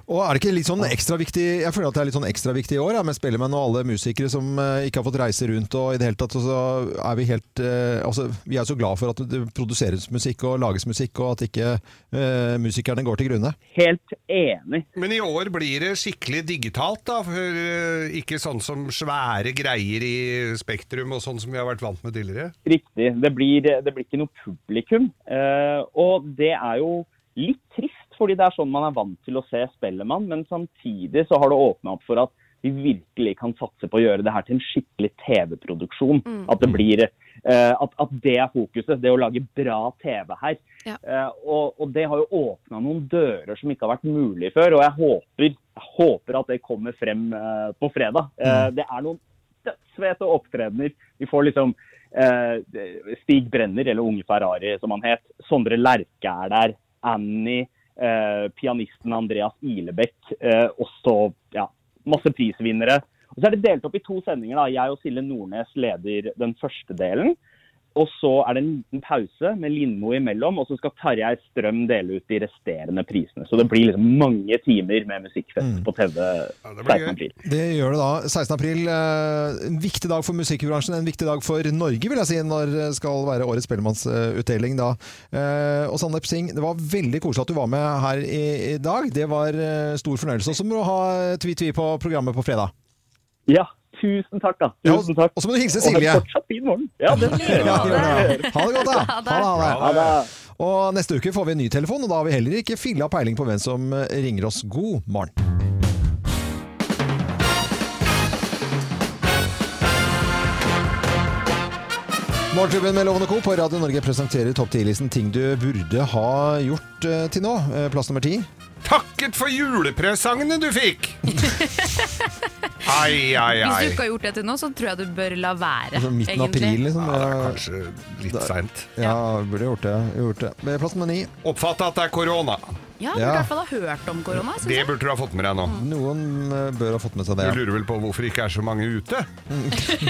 A: Og er det ikke litt sånn ekstra viktig Jeg føler at det er litt sånn ekstra viktig i år, ja, med spellemenn og alle musikere som eh, ikke har fått reise rundt og i det hele tatt, og så er vi helt eh, Altså, vi er så glad for at det produseres musikk og lages musikk, og at ikke eh, musikerne går til grunne.
O: Helt enig.
C: Men i år blir det skikkelig digitalt, da. For, eh, ikke sånn som svære greier i Spektrum og sånn som vi har vært vant med tidligere.
O: Riktig. Det blir, det blir ikke noe publikum. Eh, og det er jo litt trist, fordi det er sånn man er vant til å se Spellemann. Men samtidig så har det åpna opp for at vi virkelig kan satse på å gjøre det her til en skikkelig TV-produksjon.
P: Mm.
O: At det blir eh, at, at det er fokuset. Det å lage bra TV her. Eh, og, og det har jo åpna noen dører som ikke har vært mulig før. Og jeg håper, jeg håper at det kommer frem eh, på fredag. Eh, det er noen dødsfete opptredener. Vi får liksom eh, Stig Brenner, eller Unge Ferrari som han het. Sondre Lerche er der. Annie. Eh, pianisten Andreas Ilebekk. Eh, også ja, masse prisvinnere. Og så er det delt opp i to sendinger. da. Jeg og Silje Nordnes leder den første delen. Og så er det en liten pause med Lindmo imellom, og så skal Tarjei Strøm dele ut de resterende prisene. Så det blir liksom mange timer med musikkfest på TV 16. april.
A: Det gjør det da. 16. april, eh, en viktig dag for musikkbransjen, en viktig dag for Norge, vil jeg si, når det skal være årets Spellemannsutdeling da. Eh, Og Sandeep Singh, det var veldig koselig at du var med her i, i dag. Det var eh, stor fornøyelse. Og så må du ha tvi-tvi på programmet på fredag.
O: Ja, tusen takk, da. Tusen takk.
A: Og så må du hilse
O: Og ha en
A: Silje.
O: fortsatt fin morgen. Ja, det skal jeg
A: Ja,
O: gjøre.
A: gjør det. Ha det godt, da.
O: Ha
A: Ha
O: det.
A: det, ha det.
O: Ha det.
A: Og neste uke får vi en ny telefon, og da har vi heller ikke filla peiling på hvem som eh, ringer oss. God morgen. Morgenklubben med Lovende Co. på Radio Norge presenterer topp 10-listen ting du burde ha gjort eh, til nå. Eh, Plass nummer ti.
C: Takket for julepresangene du fikk! Ai, ai,
B: Hvis
C: ai.
B: du ikke har gjort det til nå, så tror jeg du bør la være.
A: Altså midten av
B: egentlig.
A: april, liksom.
C: Ja, det er kanskje litt seint.
A: Ja, burde gjort det. Gjort det. Med Plass nummer ni.
C: Oppfatte at det er korona.
B: Ja, du burde i hvert fall ha hørt om korona. synes
C: Det
B: jeg.
C: burde du ha fått med deg nå.
A: Noen eh, bør ha fått med seg det.
C: Du lurer vel på hvorfor det ikke er så mange ute?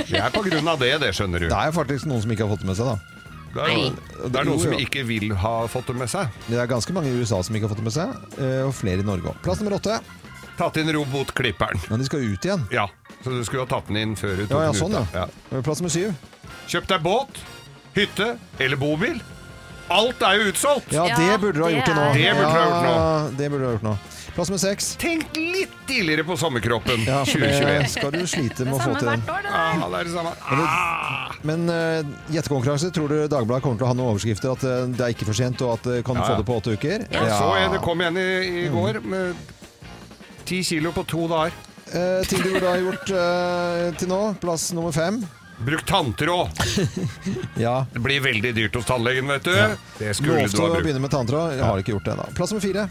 C: Det er på grunn av det, det skjønner du.
A: Det er faktisk noen som ikke har fått det med seg, da.
C: Det er, det er noen som ikke vil ha fått det med seg.
A: Det er ganske mange i USA som ikke har fått det med seg, eh, og flere i Norge òg. Plass nummer åtte.
C: Tatt inn robotklipperen.
A: Men de skal ut igjen?
C: Ja, så du skulle ha tatt den inn før du tok
A: Ja, ja,
C: den
A: sånn,
C: ut.
A: ja.
C: da.
A: Plass nummer syv.
C: Kjøp deg båt, hytte eller bobil. Alt er jo utsolgt!
A: Ja, det burde du ha gjort det nå.
C: Det burde du ha gjort nå.
A: Ja, det burde du ha gjort nå. Plass nummer seks.
C: Tenk litt tidligere på sommerkroppen
A: Ja, for det
C: 2021.
A: skal du slite med å få til den.
C: Ja, det er det samme. Ah.
A: Men, det- men eh, gjettekonkurranse, tror du Dagbladet kommer til å ha noen overskrifter? At eh, det er ikke for sent, og at det kan
C: Ja, ja.
A: få det på åtte uker?
C: Jeg så en det kom igjen i, i går med ti kilo på to dager.
A: Eh, ting du burde ha gjort eh, til nå. Plass nummer fem.
C: Bruk tanntråd!
A: Ja.
C: Det blir veldig dyrt hos tannlegen, vet du. Det skulle
A: Lovte
C: du ha
A: å
C: brukt.
A: begynne med tanntråd. Jeg har ikke gjort det ennå. Plass nummer fire.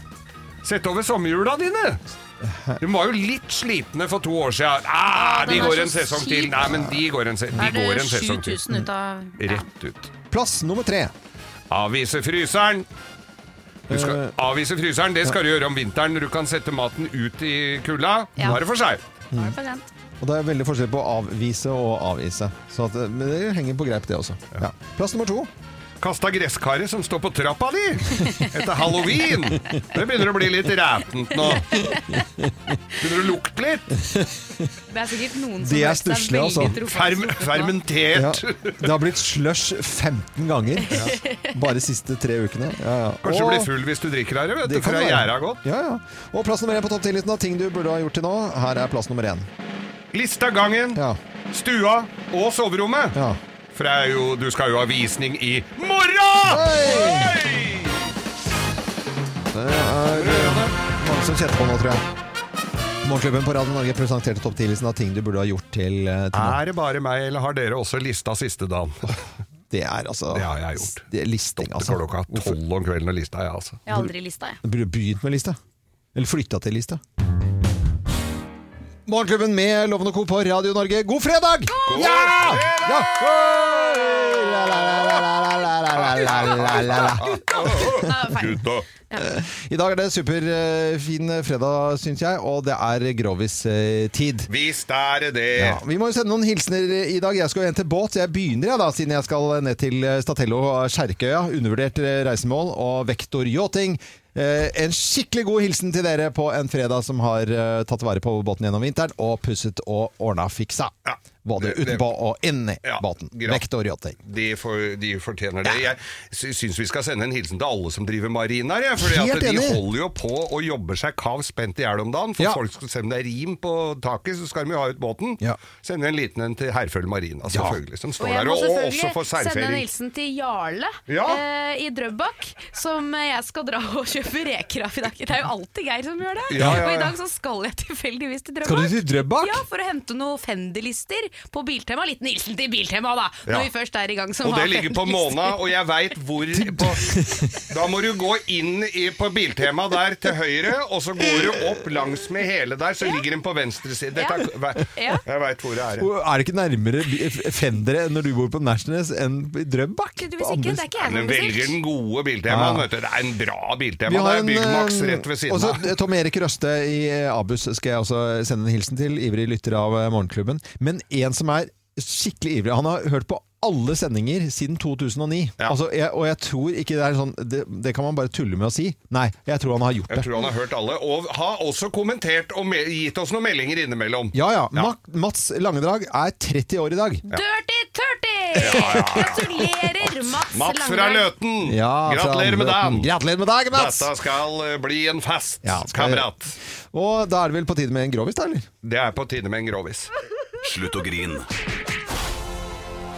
C: Sett over sommerhjula dine! De var jo litt slitne for to år siden. Ah, de
B: den er
C: går
B: så
C: en sesong
B: kjip.
C: til! Nei, men de går en, se
B: Da
C: de
B: er
C: går
B: det
C: en sesong til. Mm.
B: 7000 ut av
C: Rett ut.
A: Plass nummer tre.
C: Avvise fryseren! Du
A: Eh,
C: skal avvise fryseren, det skal du gjøre om vinteren. Du kan sette maten ut i kulda.
B: Ja.
C: Nå er det for seg.
B: Nå er det for sent.
A: Og det er veldig forskjell på å avvise og avvise. Så at, eh, men det henger på greip, det også. Ja. Plass nummer to.
C: Kasta gresskaret som står på trappa di etter halloween. Det begynner å bli litt rætent nå. Begynner å lukte litt.
L: Det er sikkert noen som
A: Det er
L: har vært seg
A: stusslig, altså.
L: veldig trofast mot korona.
C: fermentert.
A: det har blitt slush 15 ganger bare de siste tre ukene. Ja, ja.
C: Kanskje du
A: Og-
C: blir full hvis du drikker her, vet du,
A: kan
C: for
A: det
C: det
A: være.
C: gjæra godt.
A: Ja, ja. Og plass nummer én på topp 10-listen av ting du burde ha gjort til nå. Her er plass nummer én.
C: Lista gangen, stua og soverommet. For det er jo, du skal jo ha visning i morgen!
A: Det er eh, mange som kjenner på nå, tror jeg. Morgenklubben på Radio Norge presenterte topp 10-listen av ting du burde ha gjort til, eh, til nå.
C: Er det bare meg, eller har dere også lista siste dagen?
A: Det er altså
C: Det har jeg gjort.
A: Det er listing, altså.
C: Klokka tolv om kvelden og lista, ja, altså.
B: Jeg har aldri lista, jeg.
A: Du burde begynt med lista. Eller flytta til Lista. Morgenklubben med Lovende Co på Radio Norge, god fredag! ja! ja! La, la, la, la, la, la, la, la, la, la, la.
D: Gutta!
A: I dag er det superfin fredag, syns jeg, og det er eh, Grovis-tid.
C: Visst er det det!
A: Ja, vi må jo sende noen hilsener i dag. Jeg skal jo hjem til båt. Jeg begynner, jeg, da, siden jeg skal ned til eh, Statello og Skjerkøya. Undervurdert eh, reisemål. Og Vektor Yachting. Eh, en skikkelig god hilsen til dere på en fredag som har eh, tatt vare på båten gjennom vinteren og pusset og ordna fiksa. Både
C: det- det-
A: utenpå og inni båten.
C: greit.
A: Vektor Yachting.
C: De, for, de fortjener det. Jeg sy- syns vi skal sende en hilsen til alle som driver marinaer. jeg, fordi
A: Helt
C: at de
A: enig.
C: holder jo på og jobber seg kav spent i hjel om dagen. For folk skal, selv om det er rim på taket, så skal de jo ha ut båten. Sende en liten en til Herføl Marina, selvfølgelig. Som står
B: Og jeg
C: der
B: må
C: og, og også
B: selvfølgelig
C: får
B: sende en
C: seilfeiring.
B: hilsen til Jarle
C: Ja.
B: eh, i Drøbak, som eh, jeg skal dra og kjøpe reker av i dag. Det er jo alltid Geir som gjør det.
A: Ja, ja,
B: Og i
A: ja.
B: dag så skal jeg tilfeldigvis til Drøbak.
A: Skal du til Drøbak?
B: Ja, for å hente noen Fendi-lister på Biltema. Liten hilsen til Biltema, da, når
C: Ja.
B: vi først er i gang som
C: Og det
B: har
C: ligger på
B: Fendi-lister.
C: Måna, og jeg veit hvor på, Da må du gå inn i, på Biltema der til høyre, og så går du opp langs med hele der, så ligger den på venstre side. Dette, er- vei- jeg veit hvor det er.
A: Og Er det ikke nærmere bi- f- Fendere enn når du bor på Nashnes enn i Drøbak?
B: Du,
A: På
B: hvis ikke,
A: andre
B: det er ikke jeg
C: Men
B: som
C: velger
B: bestilt.
C: den gode Biltemaen,
A: Ja.
C: vet du. Det er en bra
A: Vi
C: Biltema.
A: har
C: Det er
A: en,
C: Byggmax
A: eh,
C: rett ved siden av.
A: Også Tom Erik Røste i eh, Abus skal jeg også sende en hilsen til, ivrig lytter av eh, Morgenklubben. Men en som er skikkelig ivrig. Han har hørt på alle sendinger siden 2009. Altså, jeg, og jeg tror ikke det er sånn det, det kan man bare tulle med å si. Nei, jeg tror han har gjort
C: Jeg
A: det.
C: tror han har hørt alle, og har også kommentert og me- gitt oss noen meldinger innimellom.
A: Ja, ja. Ma- Mats Langedrag er 30 år i dag.
B: Dirty Turty! Gratulerer, Mats,
C: Mats fra
B: Langberg.
C: Løten,
A: Ja, fra
C: gratulerer med dagen!
A: Løten. Gratulerer med dagen, Mats!
C: Dette skal eh, bli en fest,
A: skal-
C: kamerat.
A: Og da er det vel på tide med en grovis, da, eller?
C: Det er på tide med en grovis.
P: Slutt å grine.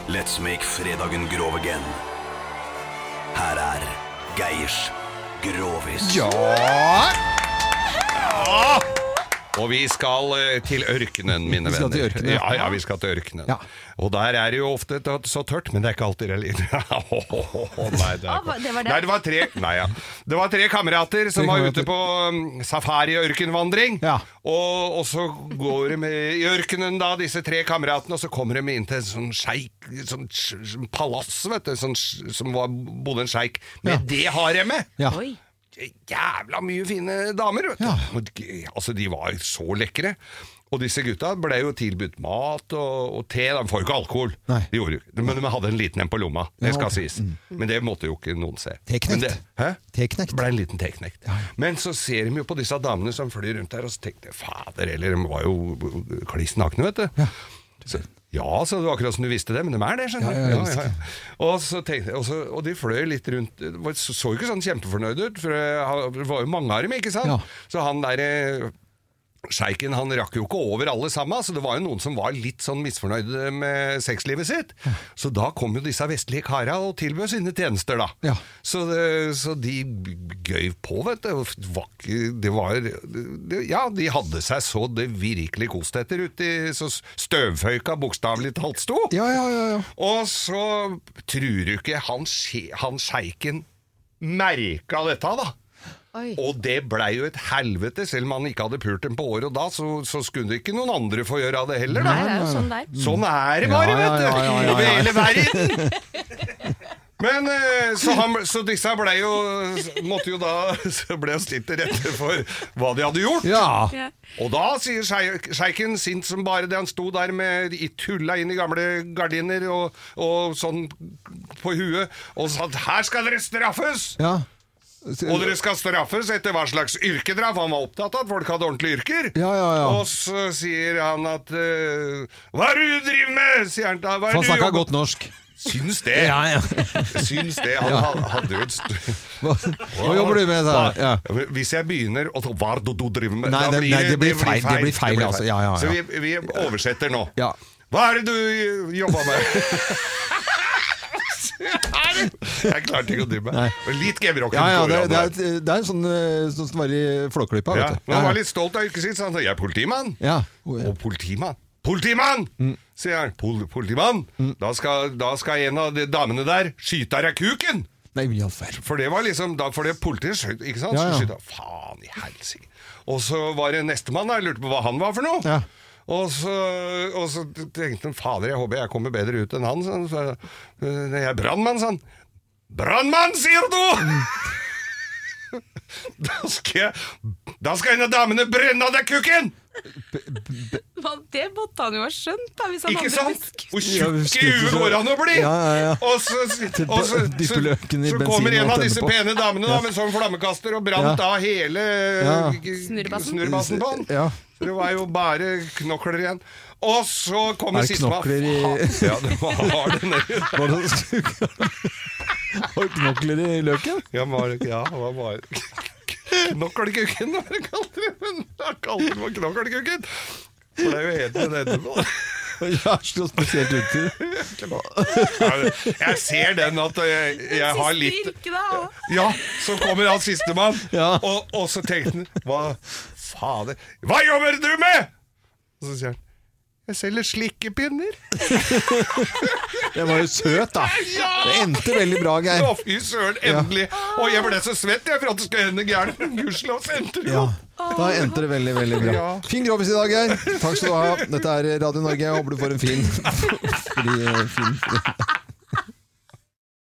P: Let's make fredagen grov again. Her er Geirs Grovis.
C: Ja! Og vi skal eh, til ørkenen, mine venner.
A: Vi skal til ørkenen, ja.
C: ja. ja, vi skal til ørkenen. Og der er det jo ofte t- så tørt, men det er ikke alltid det er Nei, det,
B: Ah,
C: er ikke-
B: det var det.
C: Nei, det var tre Nei, ja. Det var tre kamerater
A: Tre
C: som var
A: kamerater.
C: ute på um, safari og ørkenvandring. Og, og så går de i ørkenen, da, disse tre kameratene, og så kommer de inn til en sånn sjeik sånn, sj- sånn palass, vet du, sånn, sj- som var, bodde en sjeik. Men det har jeg med!
A: Ja.
C: Jævla mye fine damer, vet du. Og de- Altså, de var så lekre. Og disse gutta ble jo tilbudt mat og, og te. De får jo ikke alkohol, De gjorde, jo- men de hadde en liten en på lomma. Det
A: Ja,
C: skal
A: ok. Mm.
C: sies. Men det måtte jo ikke noen se.
A: Teknekt.
C: Men det- Hæ? Ble en liten teknekt. Men så ser de jo på disse damene som flyr rundt der, og så tenkte jeg fader eller de var jo kliss nakne, vet du. Så, ja, så det var akkurat som du visste det, men de er det, skjønner du.
A: Ja, ja, jeg visste det.
C: Og, så tenkte, jeg- og, så, og de fløy litt rundt det var- Så så jo ikke sånn kjempefornøyd ut, for eh, det var jo mange av dem, ikke sant? Så han derre Sjeiken han rakk jo ikke over alle sammen, så det var jo noen som var litt sånn misfornøyde med sexlivet sitt. Så da kom jo disse vestlige kara og tilbød sine tjenester, da. Så, det, så de gøyv på, vet du. og var ikke- Det var det, Ja, de hadde seg så det virkelig kost etter uti så støvføyka bokstavelig talt sto. Og så tror du ikke han, sje- han sjeiken merka dette, da. Og det blei jo et helvete, selv om han ikke hadde pult dem på år og da, så, så skulle ikke noen andre få gjøre av det heller, da.
D: Nei, det er
A: eh,
D: jo sånn det er.
C: Sånn er det bare,
D: Ja, ja,
C: vet du!
D: ja, ja, ja, ja.
C: Over hele verden! Men eh, så, han, så disse blei jo Måtte jo da Så ble jo stilt til rette for hva de hadde gjort.
A: Ja.
D: Ja.
C: Og da sier sjei- sjeiken, sint som bare det, han sto der med i tulla inn i gamle gardiner og, og sånn på huet, og sa at 'her skal dere straffes'!
A: Ja.
C: Og dere skal straffes etter hva slags yrke dere har, for han var opptatt av at folk hadde ordentlige yrker.
A: Ja, ja, ja.
C: Og så sier han at eh, Hva er det du driver med?! sier han da. Hva er
A: For
C: det
A: han
C: du
A: snakka
C: jobber-
A: godt norsk.
C: Syns det.
A: Ja, ja.
C: Syns det. Han
A: Ja.
C: ha- hadde jo et st-
A: Hva, hva jobber du med? sa jeg? Ja.
C: Hva- Hvis jeg begynner å ta Hva er det du driver med?
A: Nei,
C: Da
A: det- nei, det blir feil, det blir feil, altså. Ja, ja, ja.
C: Så vi, vi oversetter nå. Hva er det du eh, jobber med? Jeg klarte ikke å drive meg. Litt gebrokken.
A: Ja, ja,
C: går
A: det, det,
C: an der.
A: er, et- det er en sånn eh, sånn som var i Flåklypa,
C: Ja,
A: vet du.
C: men han var litt stolt av yrket sitt, så han sa 'jeg er politimann'.
A: Ja. Mm.
C: Og politimann. Politimann! sier han. Pol politimann! Da, skal, da skal en av de damene der skyte av deg kuken!
A: Nei, i all verden.
C: For det var liksom da, For det politiet skjøt, ikke sant?
A: Ja, ja.
C: Så skyter han. Faen i helsike. Og så var det nestemann, da. Jeg lurte på hva han var for noe.
A: Ja.
C: Og så, og så tenkte han fader, jeg håper jeg kommer bedre ut enn han. sa han. Så, «Eh, jeg er brannmann, sa han. Brannmann, sier du!
A: Mm.
C: da, skal jeg, da skal en av damene brenne av deg kukken!
L: Hva- Det måtte han jo ha skjønt, da. Hvis han
C: Ikke
L: hadde
C: sant? Hvor
A: Ja, vi
C: tjukk i
A: sliter
C: huet
A: så-
C: går han å bli!
A: Ja, ja, ja.
C: Og så,
A: Til
C: og så,
A: dyppe
C: så,
A: løken i
C: så
A: bensin
C: kommer en
A: og
C: av
A: tenne
C: disse
A: på.
C: pene damene da,
A: Ja.
C: med sånn flammekaster og brant
A: Ja.
C: av hele
A: Ja.
C: snurrebassen. snurrebassen på han.
A: Ja.
C: Så det var jo bare knokler igjen. Og så
A: Er
C: kommer
A: det
C: sistemann.
A: knokler i-
C: Faen, Ja, det var, var det nedi der.
A: Var det Har du knokler i løken?
C: Ja, var, ja, det var bare Knoklekuken, hva det kalte det? Men jeg kalte det for knoklekuken. For det er jo helt nede etterpå.
A: Jeg har slått spesielt ut til
C: Jeg ser den at jeg, jeg har litt Ja, så kommer han sistemann, og, og så tenkte han Hva fader Hva jobber du med?! Og så sier han Jeg selger slikkepinner.
A: Jeg var jo søt, da. Det endte veldig bra, Geir.
C: Å, fy søren, endelig! Og jeg ble så svett jeg for at det skulle hende gærent, men gudskjelov så endte det
A: Ja.
C: godt.
A: Da endte det veldig, veldig bra.
C: Ja.
A: Fin grovis i dag, Geir. Takk skal du ha. Dette er Radio Norge. Jeg håper du får en eh, fin, fordi, fin